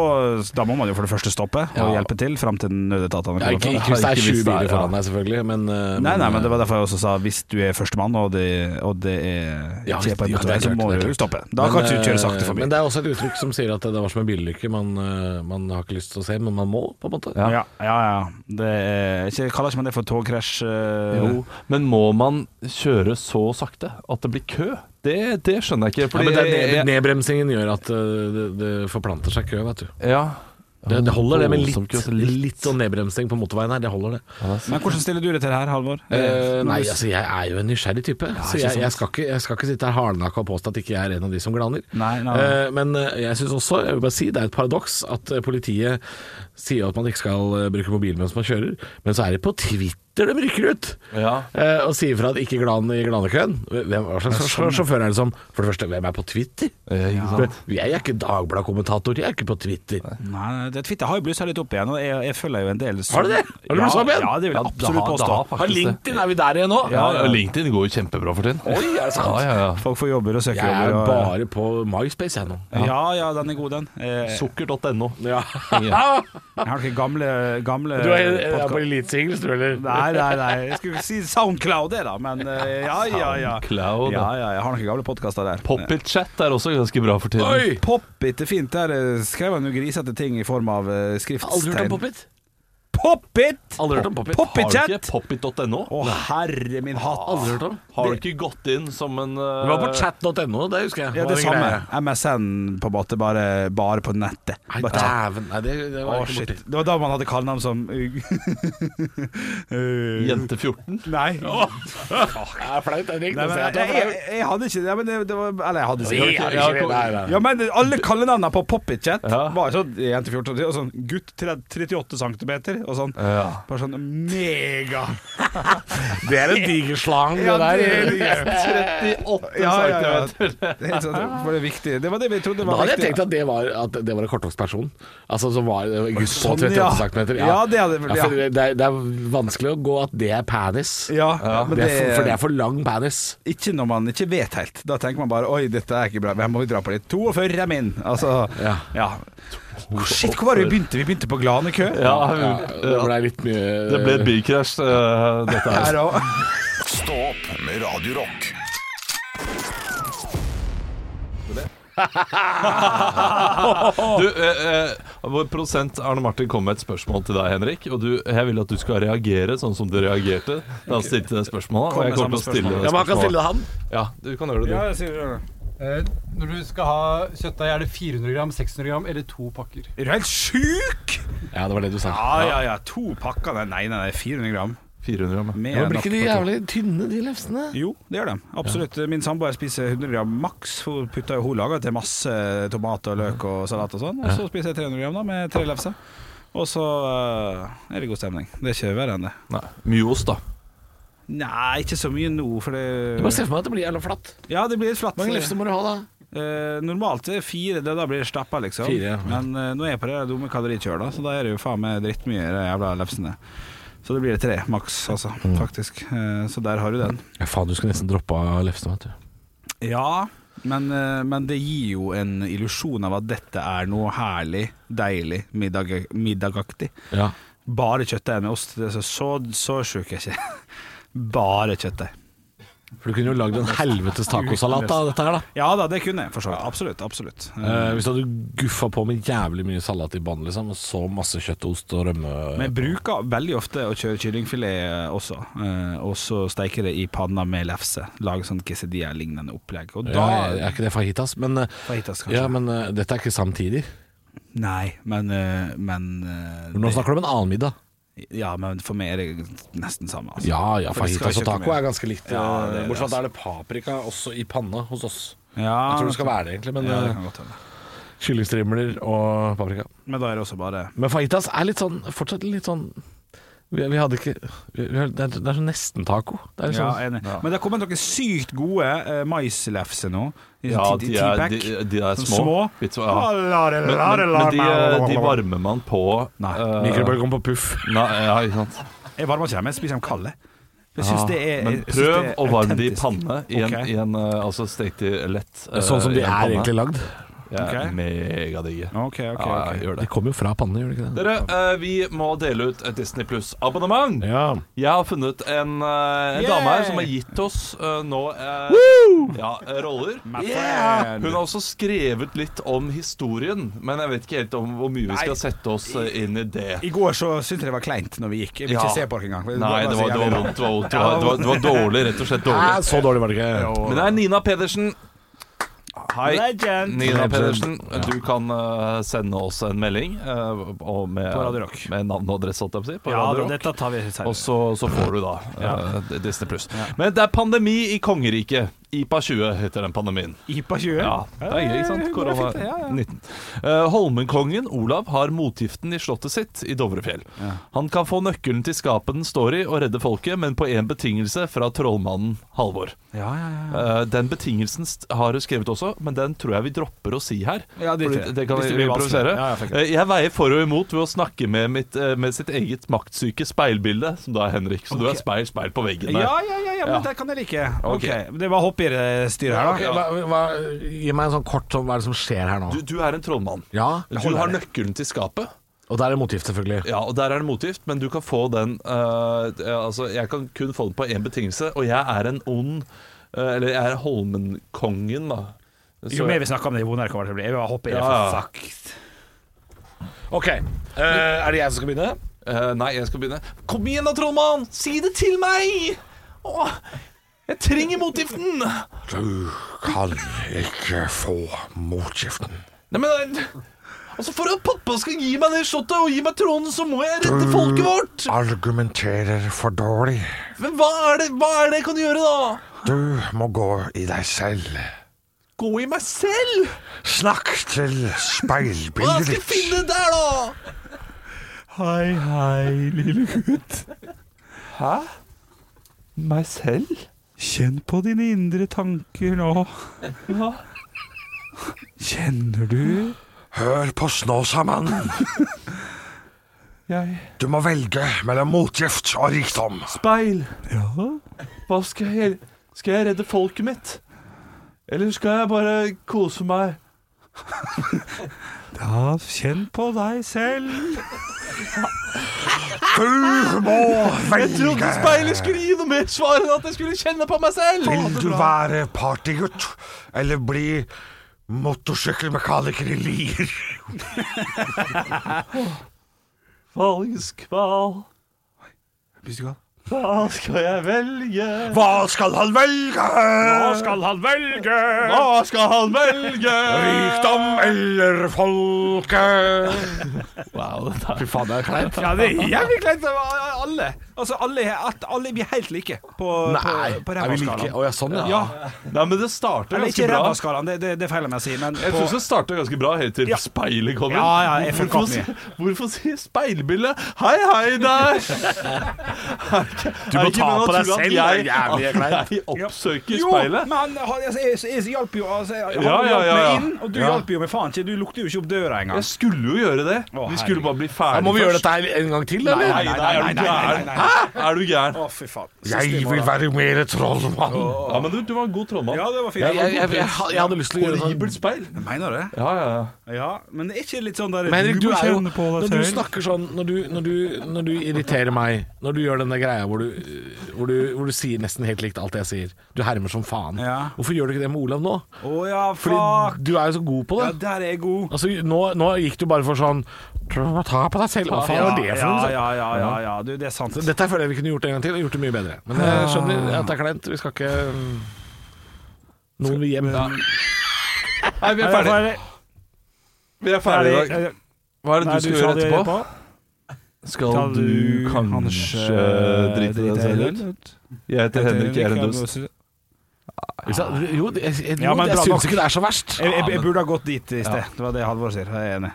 S3: da må man jo for det første stoppe og hjelpe til fram til nødetatene
S2: Ja,
S3: kommer.
S2: ikke,
S3: fram.
S2: ikke hvis det
S1: Ikke
S2: er
S1: hvis det
S2: sju
S1: er-
S2: biler
S1: ja.
S2: foran deg, selvfølgelig, men eh,
S3: Nei, nei, men det
S2: eh,
S3: var derfor jeg også sa hvis du er førstemann, og det, og det er
S2: ja,
S3: ikke på en
S2: ja, det er
S3: motorvei, så
S2: klart,
S3: må
S2: det er
S3: du
S2: klart.
S3: stoppe. Da
S2: Men,
S3: kan du ikke kjøre
S2: eh,
S3: sakte forbi.
S2: Men det er også et uttrykk som sier at det var som en bilulykke. Man, eh, man har ikke lyst til å se, men man må, på en måte.
S3: ja. Ja, ja, Det er, ikke, kaller ikke man det for togkrasj? eh,
S1: Jo, men må man kjøre så sakte? at det blir kø, det, det skjønner jeg ikke.
S2: Ja,
S1: Fordi
S2: men det er ned,
S1: jeg-
S2: nedbremsingen gjør at eh, det, det forplanter seg kø, vet du.
S1: ja.
S2: Det, det holder det med
S1: Voldsom
S2: litt,
S1: kø, altså litt.
S2: litt sånn nedbremsing på motorveien her. Det holder det.
S3: Men hvordan stiller du deg til det her, Halvor?
S2: Eh,
S3: Når
S2: nei,
S3: du-
S2: altså jeg er jo en nysgjerrig type. så jeg, jeg, skal ikke, jeg skal ikke sitte her hardnakka og påstå at ikke jeg er en av de som glaner.
S3: Nei, nei, nei.
S2: Eh, men eh, jeg syns også, jeg vil bare si, det er et paradoks at eh, politiet sier at man ikke skal eh, bruke mobil mens man kjører, men så er det på Twitter de rykker ut!
S1: Ja.
S2: Eh, og sier fra at ikke glan i glanekøen. Hvem, hva slags
S3: sånn.
S2: sjåfør- sjåfør er det som For det første, hvem er på Twitter?
S1: Ja, Eh, ikke sant?
S2: Jeg er ikke Dagbladet-kommentator, jeg er ikke på Twitter.
S3: Nei, nei, det Twitter har jo blussa litt opp igjen, og jeg, jeg følger jo en del som-
S2: Har du det? Har du blusset opp igjen?
S3: Ja, det vil
S1: Ja,
S3: jeg
S1: da-
S3: absolutt
S1: da-
S3: påstå.
S1: faktisk
S2: Har LinkedIn, er vi der igjen nå?
S1: Ja, ja, LinkedIn går jo kjempebra for tiden.
S2: Oi, er det sant?
S1: Ja, ja, ja.
S3: Folk får jobber og søker
S2: Jeg er
S3: jobber. og-
S2: bare på MySpace, jeg nå.
S3: Ja, ja, den er god, den. Eh,
S1: Sukker.no.
S2: Ja.
S3: jeg har ikke gamle, gamle
S2: Du er, er eh,
S3: podcast-
S2: på elitesingles, du, eller?
S3: Nei, nei, nei. Jeg skulle si Soundcloud, det, da. Men eh, ja, ja, ja.
S1: SoundCloud,
S3: ja, ja jeg har noen gamle podkaster der.
S1: Poppit-chat er også ganske bra for tiden.
S2: Oi!
S3: Poppit er fint. Der eh, skrev han jo grisete ting i form av eh,
S2: Aldri hørt
S3: skriftstegn.
S2: om Poppit?
S3: Poppit!
S2: Aldri hørt om Poppit.
S1: Har du
S3: Poppit-chat!
S1: ikke poppit.no?
S3: Å, herre min hatt.
S2: Aldri hørt om.
S1: Har du ikke gått inn som en eh,
S2: Det var på chat.no, det husker jeg.
S3: Eh, Ja,
S2: Var
S3: det
S2: en
S3: samme.
S2: greie.
S3: MSN på en måte, bare, bare på nettet.
S2: Nei,
S3: Bare-
S2: dæven. Nei, det, det
S3: Å,
S2: var ikke
S3: shit.
S2: borti.
S3: Det var da man hadde kallenavn som uh,
S1: Jente 14?
S3: Nei.
S2: Det er flaut, det er ikke noe
S3: Nei,
S2: å
S3: men,
S2: si.
S3: jeg, jeg, jeg hadde ikke det, men det, det var Eller jeg hadde
S2: Jeg
S3: sikkert
S2: er
S3: ikke
S2: ikke-
S3: jeg har-
S2: jeg er ikke-
S3: Ja, men alle kallenavnene på Poppitchat
S1: Ja.
S3: var sånn jente 14 og sånn gutt 30, 38 cm og sånn.
S1: Ja.
S3: Bare sånn mega
S2: Det er en diger slang, det der.
S3: er det.
S1: 38
S3: Ja, ja, ja.
S1: centimeter.
S3: Det er sånn, for det er viktig. Det var det vi trodde
S2: Da
S3: var
S2: hadde jeg
S3: viktig.
S2: tenkt at det var, at det var en kortvoksperson. Altså som var en gutt på
S3: Sånn,
S2: 38
S3: ja.
S2: cm.
S3: Ja, det hadde- ja.
S2: for det, er, det er vanskelig å gå at det er penis.
S3: Ja, men
S2: det
S3: det,
S2: er for, for det er for lang penis.
S3: ikke når man ikke vet helt. Da tenker man bare Oi, dette er ikke bra. Her må vi dra på litt. 42 er min. Altså, ja.
S2: Ja.
S3: Shit, hvor var det vi begynte? Vi begynte på Glanekø.
S1: Ja,
S2: Ja, det
S1: ja.
S2: ble litt mye
S1: Det ble et bilkrasj, eh, dette her.
S3: Her også.
S4: Stå opp med Radio Rock.
S1: Du, eh, eh, vår produsent Arne Martin kom med et spørsmål til deg, Henrik. Og du, jeg vil at du skal reagere sånn som du reagerte da han stilte det spørsmålet. Og jeg
S3: Kom
S1: kommer
S3: med
S1: til å stille
S3: samme
S1: det
S2: Ja, man kan stille
S1: spørsmålet.
S2: det han.
S1: Ja, du kan gjøre det, du.
S7: Eh, Når du skal ha kjøttdeig, er det 400 gram, 600 gram eller to pakker?
S3: Er du helt sjuk?
S2: Ja, det var det du sa.
S3: Ja, ja, ja. To pakker Nei, nei, nei 400 gram.
S1: 400 gram.
S3: Mer
S2: Ja,
S3: enn
S2: blir ikke
S3: nok
S2: de
S3: for to.
S2: jævlig tynne, de lefsene?
S3: Jo, det gjør de. Absolutt. Min samboer spiser 100 gram maks. Hun putter jo hun lager til masse tomat og løk og salat og sånn. Og så spiser jeg 300 gram da med tre lefser. Og så eh, er det god stemning. Det er ikke verre enn det.
S1: Nei, mye ost, da.
S3: Nei, ikke så mye nå, for
S2: Jeg bare
S3: det
S2: ser for meg at det blir jævla flatt.
S3: Ja, det blir litt flatt.
S2: Hvor mange lefser må du ha, da?
S3: Eh, normalt er det fire, det da blir det stappa, liksom.
S2: Fire, ja.
S3: Men eh, nå er jeg på det der dumme kalorikjøret, da, så da er det jo faen meg drittmye, de jævla lefsene. Så det blir tre, maks, altså.
S2: Mm.
S3: Faktisk. Eh, så der har du den.
S2: Ja, faen, du skulle nesten droppa lefsene, vet du.
S3: Ja, men, eh, men det gir jo en illusjon av at dette er noe herlig, deilig, middag, middagaktig.
S2: Ja.
S3: Bare kjøttdeig med ost. Det er så, så, så sjuk er jeg ikke. Bare kjøttdeig.
S2: For du kunne jo lagd en helvetes tacosalat av dette her, da.
S3: Ja da, det kunne jeg, for så vidt. Absolutt. absolutt. Eh,
S2: Eh, hvis du hadde guffa på med jævlig mye salat i bånn, liksom, og så masse kjøtt, ost og rømme
S3: Men jeg bruker veldig ofte å kjøre kyllingfilet også, eh, og så steike det i panna med lefse. Lage sånn quesadilla-lignende opplegg. Og
S2: ja,
S3: da
S2: Er ikke det fajitas? Men, eh,
S3: Fajitas, kanskje.
S2: ja, men eh, dette er ikke samtidig.
S3: Nei, men, eh, men eh,
S2: Nå
S3: det-
S2: snakker du om en annen middag.
S3: Ja, men for meg er det nesten samme. Altså.
S2: Ja, ja,
S3: For det skal
S2: fajitas og
S3: ikke
S2: taco
S3: mer.
S2: er ganske likt.
S3: Ja, det er
S2: eh,
S3: det, altså.
S2: Bortsett fra at da er det paprika også i panna hos oss.
S3: Ja,
S2: Jeg tror det skal være det, egentlig, men
S3: ja, det
S2: eh,
S3: kan godt hende.
S2: kyllingstrimler og paprika.
S3: Men da er det også bare
S2: Men fajitas er litt sånn fortsatt litt sånn Vi, vi hadde ikke vi, vi, det, er, det er sånn nesten taco. Det er litt
S3: ja,
S2: sånn,
S3: enig. Men det har kommet noen sykt gode eh, maislefser nå. I
S1: Ja,
S3: sånn ti-
S1: de er,
S3: ti-pack.
S1: de, de er
S3: Sånn
S1: små.
S3: små.
S1: Litt små, ja. Men, men, men de, eh, de varmer man på
S3: Nei.
S1: eh,
S2: Mikrobølgeovn på puff.
S1: Nei, ja, ikke sant.
S3: Jeg varmer ikke dem, jeg spiser dem kalde. Jeg synes det er,
S1: Men
S3: jeg synes
S1: prøv
S3: det er
S1: å varme de i
S3: autentisk.
S1: panne i en,
S3: Ok.
S1: i en eh, altså stekt i lett eh,
S2: Sånn som
S1: i
S2: de
S1: en
S2: er
S1: panne.
S2: egentlig lagd.
S1: Jeg er
S3: Ok.
S1: megadigge.
S3: Ok, ok,
S1: Ja,
S3: ok.
S1: jeg gjør det.
S2: Det kommer jo fra pannene, gjør det ikke det?
S1: Dere, eh, vi må dele ut et Disney Pluss-abonnement.
S2: Ja.
S1: Jeg har funnet en, eh, en
S3: Yay!
S1: dame her som har gitt oss eh, nå eh, ja, eh, roller.
S3: Yeah!
S1: Hun har også skrevet litt om historien, men jeg vet ikke helt om hvor mye vi skal sette oss eh, inn i det.
S3: I går så syntes jeg det var kleint når vi gikk. Jeg vil
S1: Ja.
S3: ikke se på dere engang. for
S1: Nei, det
S3: bare så
S1: var, det var
S3: jævlig
S1: vondt. Det var, vondt. Det var, det var, det var dårlig, rett og slett
S2: Nei,
S1: dårlig.
S2: så dårlig var det ikke.
S1: Men det er Nina Pedersen. Hei.
S3: Legend.
S1: Nina Pedersen, du kan eh, sende oss en melding eh, og med,
S3: På Radio Rock.
S1: med navn og adresse, holdt jeg på å si. På
S3: Ja,
S1: Radio Rock.
S3: dette tar vi senere.
S1: Og så, så får du da eh, Disney Pluss. Men det er pandemi i kongeriket. IPA 20 heter den pandemien.
S3: IPA 20.
S1: Ja, det er gøy, ikke sant?
S3: Eh,
S1: Korona
S3: det er fint, ja, ja.
S1: 19. Eh, Holmenkongen Olav har motgiften i slottet sitt i Dovrefjell. Han kan få nøkkelen til skapet den står i og redde folket, men på én betingelse fra trollmannen Halvor.
S3: Ja, ja, ja.
S1: Eh, den betingelsen st- har du skrevet også, men den tror jeg vi dropper å si her.
S3: Ja, det-
S1: fordi det kan
S3: hvis det
S1: vi
S3: blir
S1: improvisere.
S3: vanskelig. Ja, ja, fuck it.
S1: Eh, jeg veier for og imot ved å snakke med, mitt, eh, med sitt eget maktsyke speilbilde, som da er Henrik. Så du er speil, speil på veggen der.
S3: Ja, ja, ja, ja, men
S1: Ja.
S3: det kan jeg like.
S1: Ok.
S3: Ok, Det var hopp i det styret her, da.
S2: Hva, hva, gi meg en sånn kort sånn, hva er det som skjer her nå?
S1: Du, du er en trollmann.
S2: Ja,
S1: Du har nøkkelen til skapet.
S2: og der er det motgift, selvfølgelig.
S1: Ja, og der er det motgift, men du kan få den eh, Altså, jeg kan kun få den på én betingelse, og jeg er en ond eh, Eller jeg er Holmenkongen, da. Så-
S3: Jo mer vi snakker om det, jo vondere kommer det til å bli. Jeg vil hoppe i det,
S1: Ja,
S3: for
S1: ja.
S3: fuck.
S2: Ok, eh, er det jeg som skal begynne?
S1: Eh, nei, jeg skal begynne. Kom igjen da, trollmann! Si det til meg! Åh, jeg trenger motgiften! Nei,
S2: Du kan ikke få motgiften.
S1: men eh, Altså, For at pappa skal gi meg det slottet og gi meg tronen, så må jeg redde folket vårt!
S8: argumenterer for dårlig.
S1: Men hva er det, hva er det jeg kan gjøre, da?
S8: Du må gå i deg selv.
S1: Gå i meg selv?
S8: Snakk til
S1: Hva skal
S8: speilbildet
S1: jeg
S8: ditt.
S1: finne der, da? Hei, hei, lille gutt. Hæ? Meg selv?
S3: Kjenn på dine indre tanker nå.
S1: Hva?
S3: Kjenner du
S8: Hør på Snåsamannen.
S1: Jeg
S8: Du må velge mellom motgift og rikdom.
S1: Speil! Hva skal jeg gjøre? Skal jeg redde folket mitt? Eller skal jeg bare kose meg?
S3: Ja, kjenn på deg selv.
S8: Du må
S1: Jeg trodde
S8: velge.
S1: speilet skulle gi noe mer svar enn at jeg skulle kjenne på meg selv!
S8: Vil du være partygutt eller bli motorsykkelmekaniker i Lier?
S1: Valgskval,
S3: Hva
S1: hva skal jeg velge?
S8: Hva skal han velge?
S3: skal han velge?
S1: Hva skal han velge?
S8: Rikdom eller folket?
S1: Wow, det der.
S2: Fy faen, det er kleint.
S3: Ja, det er jævlig kleint. det var Alle Altså, alle, er- at alle blir helt like på,
S2: Nei,
S3: på, på
S2: er vi like? Å
S3: ræva-skalaen.
S2: ja, sånn ja.
S3: Ja.
S1: Nei, men det starter
S3: Eller ikke
S1: ganske bra.
S3: ræva-skalaen, det, det, det feiler meg å si, men
S1: Jeg
S3: på-
S1: syns det starter ganske bra helt til
S3: Ja.
S1: speilet kommer.
S3: Ja, ja, jeg fucka
S1: hvorfor,
S3: opp mye.
S1: si- hvorfor sier speilbildet 'hei, hei, der'? Du
S2: må ta på deg selv,
S1: Jeg,
S2: det er jævlig
S1: at jeg oppsøker
S3: Jo,
S1: speilet.
S3: men han, han- altså, jeg, jeg hjalp jo altså, jeg, Han
S1: Ja, ja,
S3: hjalp
S1: ja, ja.
S3: meg inn, og du hjalp jo meg faen ikke. Du lukter jo ikke opp døra engang.
S1: Jeg skulle jo gjøre det.
S3: Å,
S1: Vi skulle bare bli
S2: Da
S1: ferdig
S2: må vi gjøre
S1: først.
S2: dette her en gang til, eller?
S1: Nei, nei, nei, er du gæren? Hæ? Er du gæren?
S3: Å, fy faen.
S8: Jeg vil være mer trollmann.
S1: Ja, men du, du var en god trollmann.
S3: Ja, det var fint.
S2: Jeg, jeg, jeg, jeg, jeg hadde lyst til å gjøre det sånn.
S1: Horribelt speil.
S3: Mener du det?
S1: Ja, ja, ja.
S3: Ja, men det er ikke litt sånn der
S2: Men Henrik, du
S3: må
S2: er jo,
S3: kjenne på deg
S2: når du
S3: selv.
S2: snakker sånn Når du, når du, når du irriterer meg Når du gjør den der greia hvor du, hvor, du, hvor du sier nesten helt likt alt jeg sier Du hermer som faen
S3: Ja.
S2: Hvorfor gjør du ikke det med Olav nå?
S3: Å ja,
S2: Fordi
S3: fuck.
S2: du er jo så god på det
S3: Ja, der er jeg god.
S2: Altså, nå, nå gikk du bare for sånn «Tror du må Ta på deg selv Hva faen var det for
S3: ja,
S2: noe?
S3: ja, ja, ja, ja, du, det er sant.
S2: Så Dette føler jeg vi kunne gjort en gang til og gjort det mye bedre Men jeg skjønner at det er kleint Vi skal ikke mm, Noen vil hjem
S1: Nei, vi er ferdig. Vi er ferdig i dag.
S3: Ferdig.
S1: Hva er det
S3: Nei,
S1: du skal gjøre
S3: det
S1: etterpå? Skal
S3: Skal
S1: du kanskje drite deg selv ut? Jeg heter Henrik
S3: Eh,
S1: Erendus.
S2: Jo, det- jeg, jeg,
S3: Ja, men
S2: jeg
S3: bra
S2: synes
S3: nok.
S2: ikke det er så verst
S3: Jeg, jeg, jeg burde ha gått dit i sted. Det var det Halvor sier. Jeg er enig.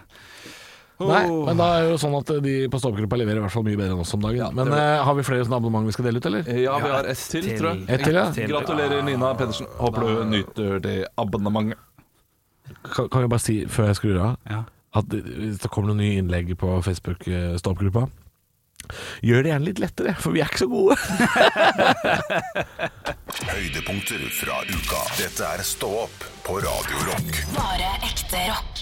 S2: Nei,
S3: Oh.
S2: men da er det jo sånn at de på Ståpegruppa leverer i hvert fall mye bedre enn oss om dagen. men eh, har vi flere sånne abonnement vi skal dele ut, eller?
S1: Ja, vi har ett til, tror jeg.
S2: Ett til, ja.
S3: Eh, Til.
S1: Gratulerer, Nina Pedersen. Håper du nyter det abonnementet.
S2: Kan, kan vi bare si, før jeg skrur av,
S3: Ja.
S2: at det- hvis det kommer noen nye innlegg på Facebook-Ståpegruppa Gjør det gjerne litt lettere, for vi er ikke så gode.
S4: Høydepunkter fra uka. Dette er Stå opp på Radio Rock.
S9: Bare ekte rock.